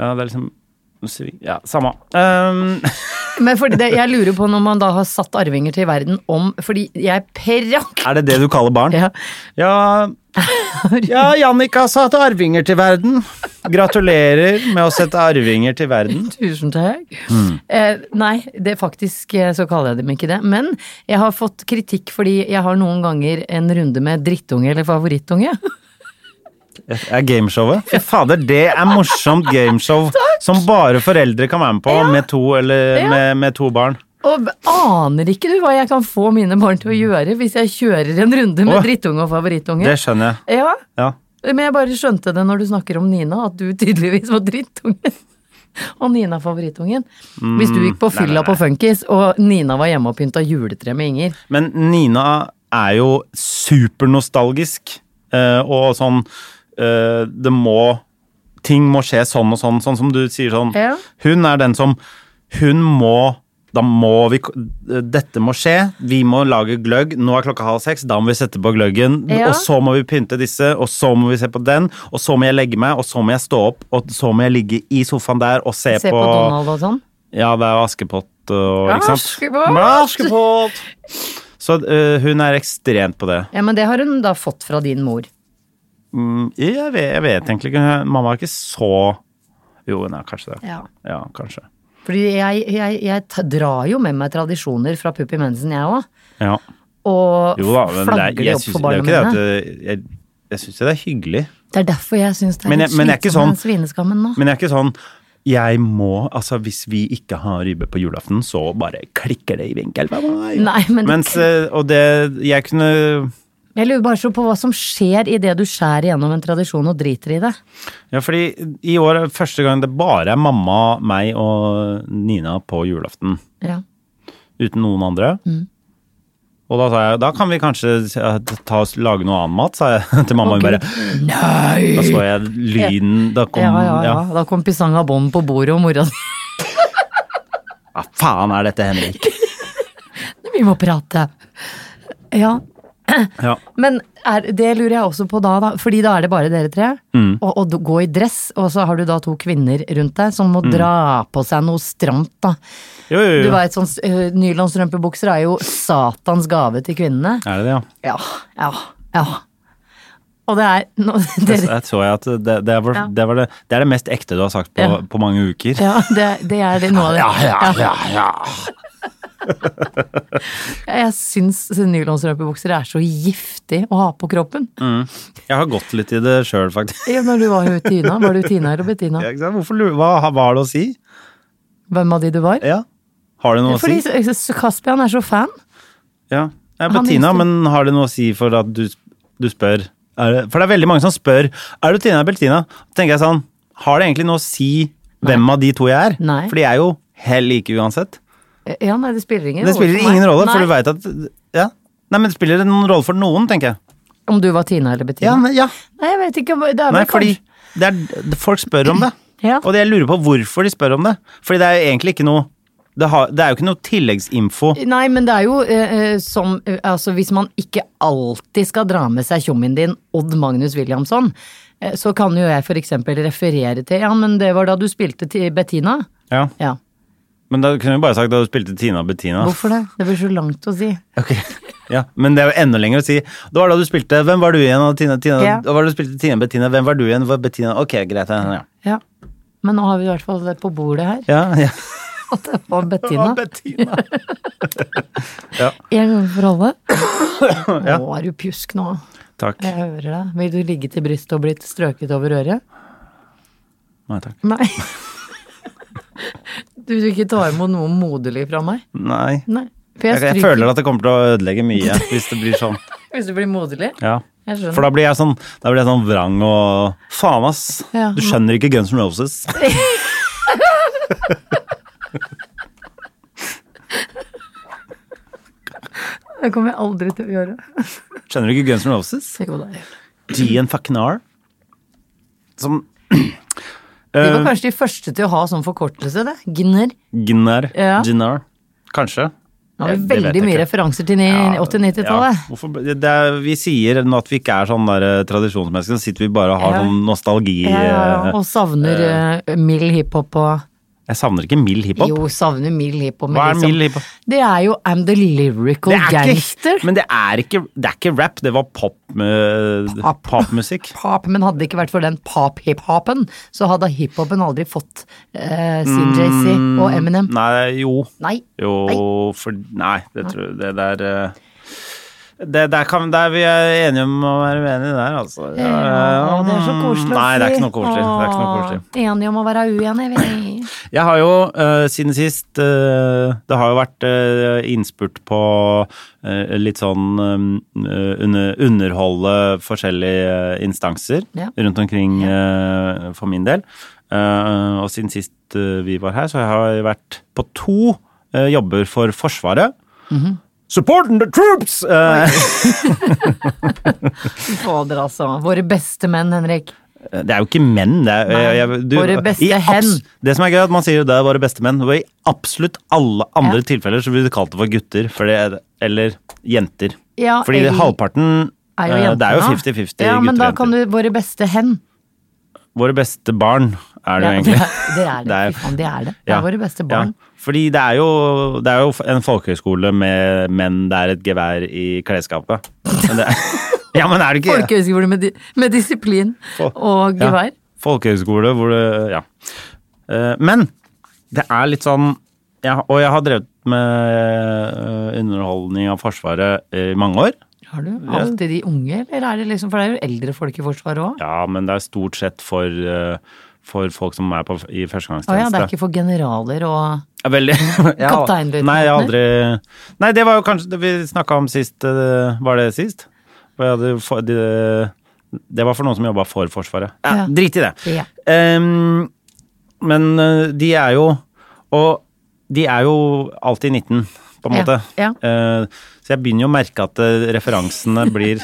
Ja, det er liksom svi- Ja, samme. Um,
Men fordi det, jeg lurer på når man da har satt arvinger til verden om Fordi jeg prank!
er det det du kaller barn?
Ja.
Ja, ja Jannik har satt arvinger til verden. Gratulerer med å sette arvinger til verden.
Tusen takk.
Mm.
Eh, nei, det faktisk eh, så kaller jeg dem ikke det. Men jeg har fått kritikk fordi jeg har noen ganger en runde med drittunge eller favorittunge.
er gameshowet. Fy fader, det er morsomt gameshow som bare foreldre kan være med på med, to, eller,
Ja.
med, med to barn.
Og b- aner ikke du hva jeg kan få mine barn til å gjøre hvis jeg kjører en runde med
Åh.
drittunge og favorittunge?
Det skjønner jeg.
Ja,
Ja.
men jeg bare skjønte det når du snakker om Nina, at du tydeligvis var drittunge. og Nina favorittungen. Hvis du gikk på
Mm, nei, nei,
fylla på Funkis, og Nina var hjemme og pynta juletre med Inger.
Men Nina er jo supernostalgisk, eh, og sånn eh, Det må Ting må skje sånn og sånn, sånn som du sier sånn.
Ja.
Hun er den som Hun må da må vi, k- Dette må skje, vi må lage gløgg. Nå er klokka halv seks, da må vi sette på gløggen.
Ja.
Og så må vi pynte disse, og så må vi se på den. Og så må jeg legge meg, og så må jeg stå opp, og så må jeg ligge i sofaen der og se,
Se på Donald og sånn.
ja, det er jo Askepott og ikke sant?
Askepott!
Men Askepott! Så øh, hun er ekstremt på det.
Ja, men det har hun da fått fra din mor.
Mm, Jeg vet, jeg vet egentlig ikke. Mamma er ikke så Jo, hun er kanskje det.
Ja.
Ja, kanskje.
Fordi jeg, jeg, jeg ta- drar jo med meg tradisjoner fra Puppi Mensen, jeg òg.
Ja.
Og
Jo da, men det
flagger
er,
de
jeg
opp for
syns det er
barna
jo ikke det
mine.
at det- Jeg, jeg syns jo det er hyggelig,
Det er derfor jeg syns det er
Men
litt
jeg- men jeg er ikke
slitsomt med den
sånn-
svineskammen nå.
men jeg er ikke sånn jeg må, altså Hvis vi ikke har ribbe på julaften, så bare klikker det i vinkel.
Nei, men det-
Mens, øh, og det Jeg kunne
Jeg lurer bare så på hva som skjer idet du skjærer gjennom en tradisjon og driter i det.
Ja, fordi i år er det første gang det bare er mamma, meg og Nina på julaften.
Ja.
Uten noen andre.
Mm.
Og da sa jeg da kan vi kanskje eh, ta, oss- lage noe annen mat, sa jeg til mamma. Hun bare nei! Da så jeg lyden Da kom
ja, ja, ja.
ja.
Da kom pisanga bånd på bordet, og mora si
Hva faen er dette, Henrik?
Vi må prate. Ja.
Ja.
Men er, det lurer jeg også på da, da. Fordi da er det bare dere tre.
Mm.
Og, og du- gå i dress, og så har du da to kvinner rundt deg som
Mm.
må dra på seg noe stramt, da.
Jo, jo,
Du
jo.
vet, sånn uh, Nylonstrømpebukser er jo satans gave til kvinnene.
Er det det, ja?
Ja. Ja. ja. Og det er nå,
Jeg,
dere,
jeg så jeg at det, det, var, det, var det, det er det mest ekte du har sagt på,
Ja.
på mange uker.
ja, det, det er det noe av det.
ja, ja.
Jeg syns nylonstrømpebukser er så giftig å ha på kroppen.
Jeg har gått litt i det sjøl, faktisk.
Ja, når du var jo Tina, var du Tina eller Bettina?
Ja, ikke sant? Hvorfor, lu- hva var det å si?
Hvem av de du var?
Ja. Har det noe å
Fordi
si?
så- så Caspian er så fan.
Ja. Det er
Han
Bettina,
visste-
men har det noe å si for at du, du spør er det, For det er veldig mange som spør Er du Tina eller Bettina. Da tenker jeg sånn Har det egentlig noe å si hvem av de to jeg er?
Nei.
For de er jo helt like uansett.
Ja, nei, det spiller ingen
Det spiller
for meg.
ingen rolle,
nei.
for du veit at Ja. Nei, men det spiller noen rolle for noen, tenker jeg.
Om du var Tina eller Bettina?
Ja, men- ja.
Nei, jeg vet ikke. om- Det er vel
Nei, fordi
kanskje
det er, det- folk spør om det.
Ja.
Og det jeg lurer på hvorfor de spør om det. Fordi det er jo egentlig ikke noe Det, har, det er jo ikke noe tilleggsinfo.
Nei, men det er jo eh, eh, som eh, Altså, hvis man ikke alltid skal dra med seg tjommien din, Odd Magnus Williamson, eh, så kan jo jeg for eksempel referere til Ja, men det var da du spilte til Bettina.
Ja.
Ja.
Men da kunne vi bare sagt at du spilte Tina og Bettina.
Hvorfor det? Det blir så langt å si.
Ok, ja, Men det er jo enda lenger å si. Det var da du spilte Hvem var du igjen? Og Tina, Tina,
Ja.
og var det du spilte Tina Bettina? Hvem var du igjen? Var Bettina? Ok, greit. Ja, ja.
Ja. Men nå har vi i hvert fall det på bordet her.
ja, ja.
At det var Bettina.
Bettina.
En gang for alle. Nå er du pjusk nå.
Takk.
Jeg hører deg. Vil du ligge til brystet og blitt strøket over øret?
Nei, takk.
Nei. Du vil ikke ta imot noe moderlig fra meg?
Nei.
Nei. For
Jeg, jeg føler at det kommer til å ødelegge mye hvis det blir sånn.
Hvis du blir moderlig?
Ja.
Jeg skjønner.
For da blir jeg sånn, da blir jeg sånn vrang og Faen, ass!
Ja.
Du skjønner ikke Guns N' Roses.
Det kommer jeg aldri til å gjøre.
Skjønner du ikke Guns N' Roses?
Se på deg.
G and fucking R. Som
De
Eh,
var kanskje de første til å ha sånn forkortelse, det. Gner.
Gnar.
Ja.
Gnar. Kanskje.
Nå har vi
Det- det vet
veldig
jeg
mye
ikke.
referanser til ni-
Ja,
80-90-tallet.
ja. Hvorfor- det er- Vi sier nå at vi ikke er sånn der, eh, tradisjonsmennesker, så sitter vi bare og har
Ja.
sånn nostalgi.
Ja, ja, ja.
eh,
Og savner eh, mild hiphop og
Jeg savner ikke mild hiphop.
Jo, savner mild hiphop. men
Hva er
liksom-
mild hiphop?
Det er jo I'm the lyrical
Det er ikke-
gangster.
men det er, ikke, det er ikke rap, det var pop, eh,
Pop.
popmusikk.
Pop, men hadde det ikke vært for den pop-hip-hopen, så hadde hiphopen aldri fått eh, sin JC og Eminem.
Mm. Nei, jo.
Nei.
Jo, for Nei, det tror jeg Det der eh, det, der kan, der vi er enige om å være uenige der, altså.
Ja, det er så
mm,
koselig å si.
Nei, det er ikke noe koselig. Det er ikke noe
Åh,
koselig.
Enige om å være uenige, vi.
Jeg har jo eh, siden sist eh, Det har jo vært eh, innspurt på eh, litt sånn eh, under, underholde forskjellige eh, instanser
Ja.
rundt omkring eh, for min del. Eh, og siden sist eh, vi var her, så har jeg vært på to eh, jobber for Forsvaret. Supporting the troops! Eh,
Fader, altså. Våre beste menn, Henrik.
det er jo ikke menn, det er
Nei, våre beste
i abs-
hen.
Det som er gøy, er at man sier jo det er våre beste menn. Og i absolutt alle andre
Ja.
tilfeller så blir det kalt det for gutter for det er, eller jenter.
Ja,
Fordi
eller-
halvparten
Er jo
eh,
jenter,
Det er jo
da.
50-50
Ja, men
gutter og
da
jenter.
kan du Våre beste hen.
Våre beste barn er det jo
Ja,
egentlig.
Det er det.
Det er-
Fy faen, det er det. Det er våre beste barn.
Ja. Fordi det er, jo, det er jo en folkehøyskole med menn det er et gevær i klesskapet. Men det er, ja, men er det ikke
Folkehøyskole med, di- med disiplin
Fol-
og gevær.
Ja. Folkehøyskole hvor det Ja. Eh, Men det er litt sånn jeg, har- Og jeg har drevet med eh, underholdning av Forsvaret i mange år.
Har du alltid de unge, eller er det liksom For det er jo eldre folk i Forsvaret òg.
Ja, men det er stort sett for, eh, for folk som er på, i
Å ja,
førstegangstjeneste.
det er ikke for generaler og
Ja, Veldig. Jeg har-
Kapteinløytnanter?
Nei, jeg har aldri Nei, det var jo kanskje det vi snakka om sist. eh, Var det sist? Hvor jeg hadde for- de- Det var for noen som jobba for Forsvaret. Ja,
Ja.
Drit i det.
Ja.
Ehm, men eh, de er jo Og de er jo alltid 19, på en
Ja,
måte.
ja.
Eh, så jeg begynner jo å merke at eh, referansene blir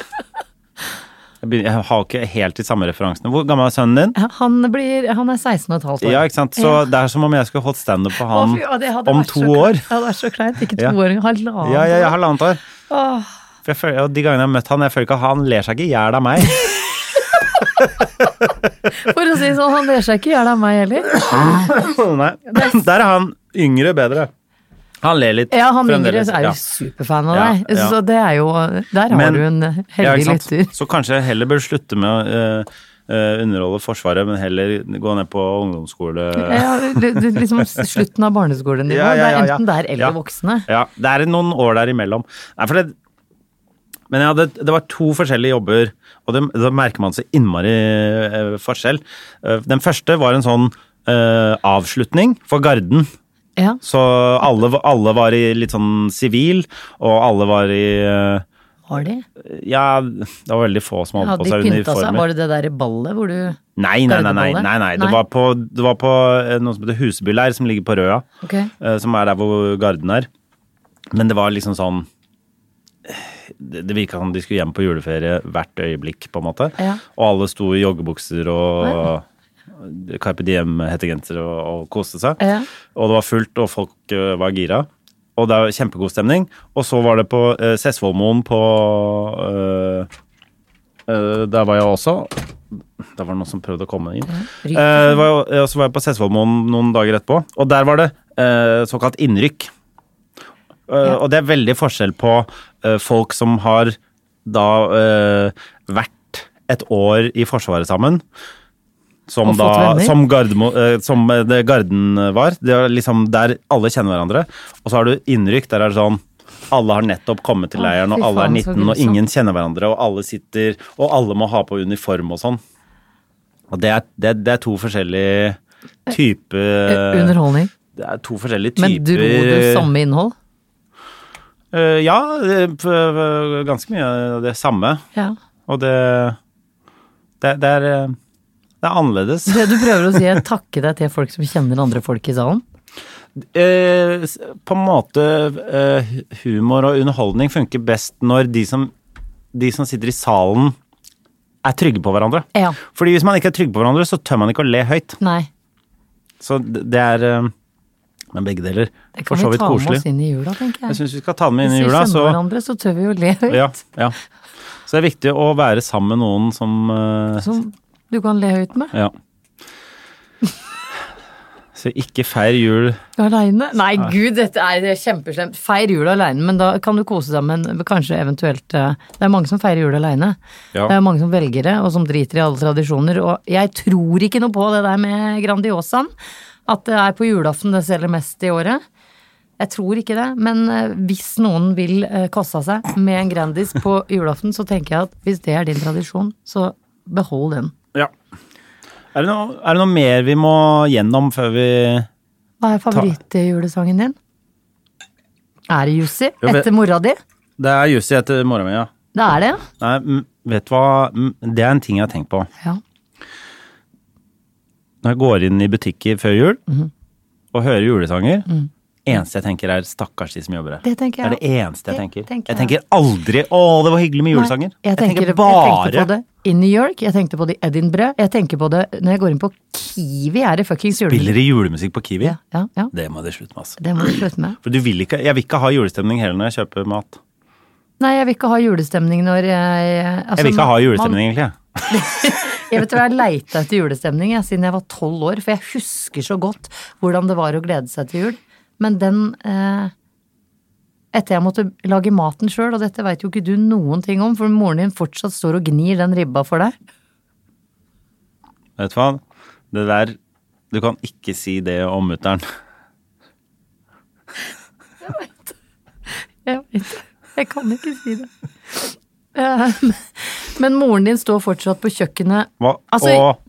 jeg, begynner, jeg har ikke helt de samme referansene. Hvor gammel er sønnen din?
Ja, Han, blir, han er 16 og et halvt år.
Ja, ikke sant? Så det er som om jeg skulle holdt standup på
Å,
han
fy, å, det hadde
om
vært
to
så kleint.
år.
Ja, det er så kleint. Ikke to
Ja.
år, halvannet
Ja, ja, ja,
år.
halvannet år.
Åh,
For jeg føler, og de gangene jeg har møtt han, jeg føler ikke at han ler seg ikke i hjel av meg.
For å si det sånn, han ler seg ikke i hjel av meg heller.
Nei. Der er han yngre bedre. Han ler litt.
Ja, han yngre
fremdeles.
er jo
Ja.
superfan av
Ja,
deg,
ja.
så det er jo Der har
Men-
du en
Ja,
heldig
ikke sant?
lytter.
Så kanskje jeg heller bør slutte med å eh, eh, underholde Forsvaret, men heller gå ned på ungdomsskole.
Ja, du, du, liksom slutten av barneskolenivå.
Ja, ja, ja,
Det er
ja.
enten der eller
Ja.
voksne.
Ja, det er noen år der imellom. Nei, for det, men jeg hadde, det var to forskjellige jobber, og det, da merker man så innmari eh, forskjell. Eh, den første var en sånn eh, avslutning for garden.
Ja.
Så alle, var- alle var i litt sånn sivil, og alle var i eh,
Har de?
Ja, det var veldig få som
Ja,
holdt på
de
seg
pynta seg.
uniformer.
Var det det derre ballet hvor du
Nei, nei, nei. nei,
Gardeballet?
nei, nei. Det,
Nei.
var på, det var på eh, noe som heter Husebyleir, som ligger på Røa.
Ok.
eh, Som er der hvor garden er. Men det var liksom sånn eh, Det, det virka som de skulle hjem på juleferie hvert øyeblikk, på en måte.
Ja.
Og alle sto i joggebukser og Carpe Diem-hettegensere og, og koste seg.
Ja.
Og det var fullt, og folk eh, var gira. Og det var kjempegod stemning. Og så var det på uh, Sessvollmoen på eh, eh, Der var jeg også. Der var det noen som prøvde å komme inn.
ryker.
Eh, det var jo- eh, Og så var jeg på Sessvollmoen noen dager etterpå, og der var det eh, såkalt innrykk. Eh, Og det er veldig forskjell på eh, folk som har da eh, vært et år i Forsvaret sammen. Som,
Og fått
da,
venner.
som, Gardermo, eh, som eh, det Garden var. Det er liksom der alle kjenner hverandre. Og så har du innrykk. Der er det sånn alle har nettopp kommet til
Å,
leiren, og
fy
alle er
faen, så
19, og
grusomt.
ingen kjenner hverandre, og alle sitter Og alle må ha på uniform og sånn. Og det er, det, det er to forskjellige typer
Eh, Underholdning.
Det er to forskjellige typer
Men dro du samme innhold?
Eh, ja, eh, p- eh, ganske mye av det samme.
Ja.
Og det Det, det er eh, Det er annerledes.
Det du prøver å si er takke deg til folk som kjenner andre folk i salen?
Eh, s- på en måte eh, Humor og underholdning funker best når de som, de som sitter i salen, er trygge på hverandre.
Ja.
Fordi hvis man ikke er trygge på hverandre, så tør man ikke å le høyt.
Nei.
Så det det er eh, Men begge deler.
Det
For
kan
så
vi
vidt
ta med
koselig.
oss inn i jula, tenker
Jeg
jeg.
syns vi skal ta det med inn i
Hvis vi
jula.
kjenner
Så
hverandre, så tør vi jo le høyt.
Ja, ja. Så det er viktig å være sammen med noen som, eh,
Som du kan le høyt med.
Ja. Så ikke feir jul
Aleine? Nei, gud, dette er det er kjempeslemt. Feir jul aleine, men da kan du kose deg med en kanskje eventuelt eh, Det er mange som feirer jul aleine.
Ja.
Det er mange som velger det, og som driter i alle tradisjoner. Og jeg tror ikke noe på det der med Grandiosaen. At det er på julaften det selger mest i året. Jeg tror ikke det, men eh, hvis noen vil eh, kaste seg med en Grandis på julaften, så tenker jeg at hvis det er din tradisjon, så behold den.
Ja. Er det, noe, er det noe mer vi må gjennom før vi
Hva er favorittjulesangen din? Er det Jussi?
Jo, men-
Etter mora di?
Det er Jussi etter mora mi, ja.
Det er det,
Nei, m- vet du hva? M- Det er en ting jeg har tenkt på.
ja.
Når Når jeg går inn i butikker før jul
Mhm.
og hører julesanger Eneste jeg tenker er stakkars de som jobber her.
Det tenker jeg
er det eneste jeg
Det
tenker.
tenker jeg.
jeg tenker aldri 'Å, det var hyggelig med julesanger'.
Nei, jeg, tenker, jeg tenkte på det i New York, jeg tenkte på det i Edinburgh, jeg tenker på det når jeg går inn på Kiwi, er det fuckings
Spiller
julemusikk.
de julemusikk på Kiwi?
Ja, ja, ja.
Det må de slutte med, altså.
Det må du slutte med.
For du vil ikke, jeg vil ikke ha julestemning heller når jeg kjøper mat.
Nei, jeg vil ikke ha julestemning når jeg altså,
Jeg vil ikke ha
man-
julestemning, egentlig. jeg.
Jeg vet hva, jeg leita etter julestemning jeg, siden jeg var tolv år, for jeg husker så godt hvordan det var å glede seg til jul. Men den eh, Etter jeg måtte lage maten sjøl, og dette veit jo ikke du noen ting om, for moren din fortsatt står og gnir den ribba for deg.
Vet du hva? Det der Du kan ikke si det om mutter'n.
Jeg vet det. Jeg kan ikke si det. Eh, Men moren din står fortsatt på kjøkkenet,
Hva-
Altså,
og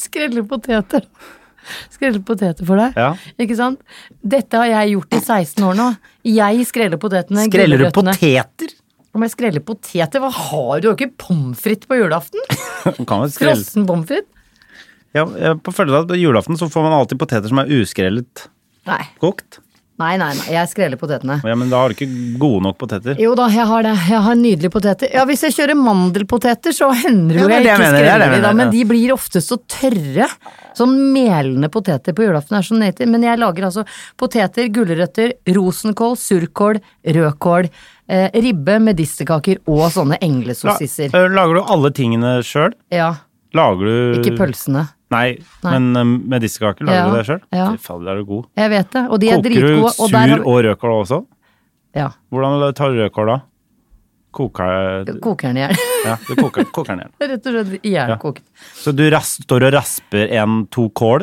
skreller poteter. Skreller poteter for deg.
Ja.
Ikke sant? Dette har jeg gjort i 16 år nå. Jeg skreller potetene.
Skreller du
gulrøttene.
poteter?
Om jeg skreller poteter? Hva har du? Du har ikke pommes frites på julaften?
Man kan jo skrelle.
Frossen pommes frites?
Ja, jeg- på følelsen av at på julaften så får man alltid poteter som er uskrellet
Nei.
kokt.
nei, nei, nei. Jeg skreller potetene.
Ja, Men da har du ikke gode nok poteter.
Jo da, jeg har det. Jeg har nydelige poteter. Ja, hvis jeg kjører mandelpoteter, så hender det
Ja,
jo
det
jeg
er det
ikke
jeg mener, det er det
skreller
jeg
de, da.
mener,
Men
ja.
de blir ofte så tørre. Sånn melende poteter på julaften er så native. Men jeg lager altså poteter, gulrøtter, rosenkål, surkål, rødkål, eh, ribbe, medisterkaker og sånne
La-
englesossisser.
eh, Lager du alle tingene sjøl?
Ja,
Lager du
ikke pølsene.
Nei,
Nei.
men eh, medisterkaker lager
Ja,
du det sjøl?
ja.
Fy fader, er du god.
Jeg vet det. Og de er
Koker du
dritgode. og der
sur
har-
og rødkål også?
Ja.
Hvordan tar du rødkål da? Koker du
Koker den i hjel.
Ja, du koker, koker den igjen.
Rett og slett ihjelkokt.
Så du ras, står og rasper en, to kål?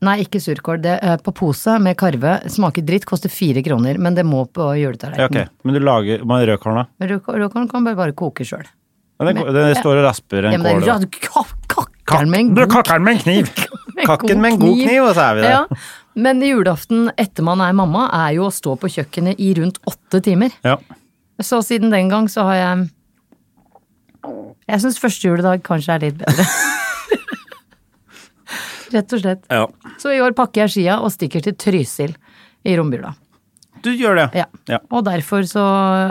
Nei, ikke surkål. Det er på pose med karve. Smaker dritt, koster fire kroner, men det må på
Ja, ok.
juletallerkenen.
Men du lager med rødkål, da?
Men rødkål- Rødkålen kan bare, bare koke sjøl.
Ja, Den, den står og rasper
Ja,
en
men det
kål.
er
da.
rad- ka-
Kak-
kakkeren med en
Du
god
kakker den med en kniv! Kakken med en god kniv, og så er vi der.
Ja. Men julaften etter man er mamma, er jo å stå på kjøkkenet i rundt åtte timer.
Ja.
Så siden den gang så har jeg Jeg syns første juledag kanskje er litt bedre. Rett og slett.
ja.
Så i år pakker jeg skia og stikker til Trysil i romjula.
Du gjør det.
Ja.
Ja.
Og derfor så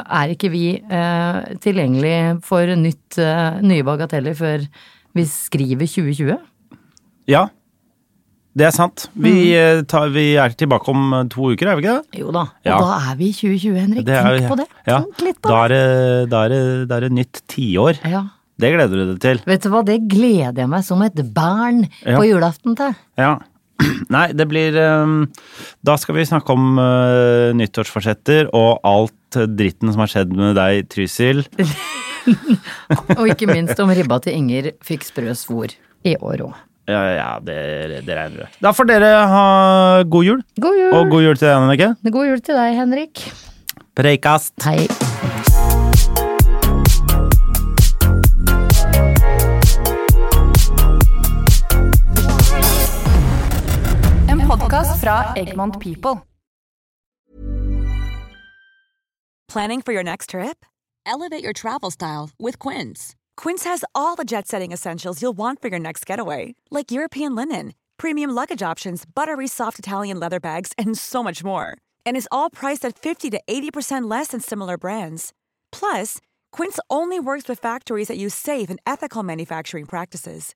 er ikke vi eh, tilgjengelig for nytt, eh, nye bagateller før vi skriver 2020.
Ja. Det er sant. Vi,
Mm.
eh, tar, vi er tilbake om eh, to uker, er vi ikke det?
Jo da. Og
Ja.
da er vi i 2020, Henrik.
det er,
Tenk på det.
Ja.
Tenk litt på
Da
det.
er det, da er det, da er det nytt tiår.
Ja.
Det gleder du deg til.
Vet du hva, det gleder jeg meg som et barn
Ja.
på julaften til.
Ja. Nei, det blir eh, Da skal vi snakke om eh, nyttårsforsetter og alt dritten som har skjedd med deg, Trysil.
Og ikke minst om ribba til Inger fikk sprø svor i år òg.
Ja, ja det, det regner du. Da får dere ha god jul.
God jul!
Og god jul til deg, Annike.
God jul til deg, Henrik.
Preikast.
Hei.
En podkast fra Egmont People.
Planning for your next trip?
Elevate your travel style with Quince.
Quince has all the jet setting essentials you'll want for your next getaway, like European linen, premium luggage options, buttery soft Italian leather bags, and so much more. And is all priced at 50 to 80% less than similar brands. Plus, Quince only works with factories that use safe and ethical manufacturing practices.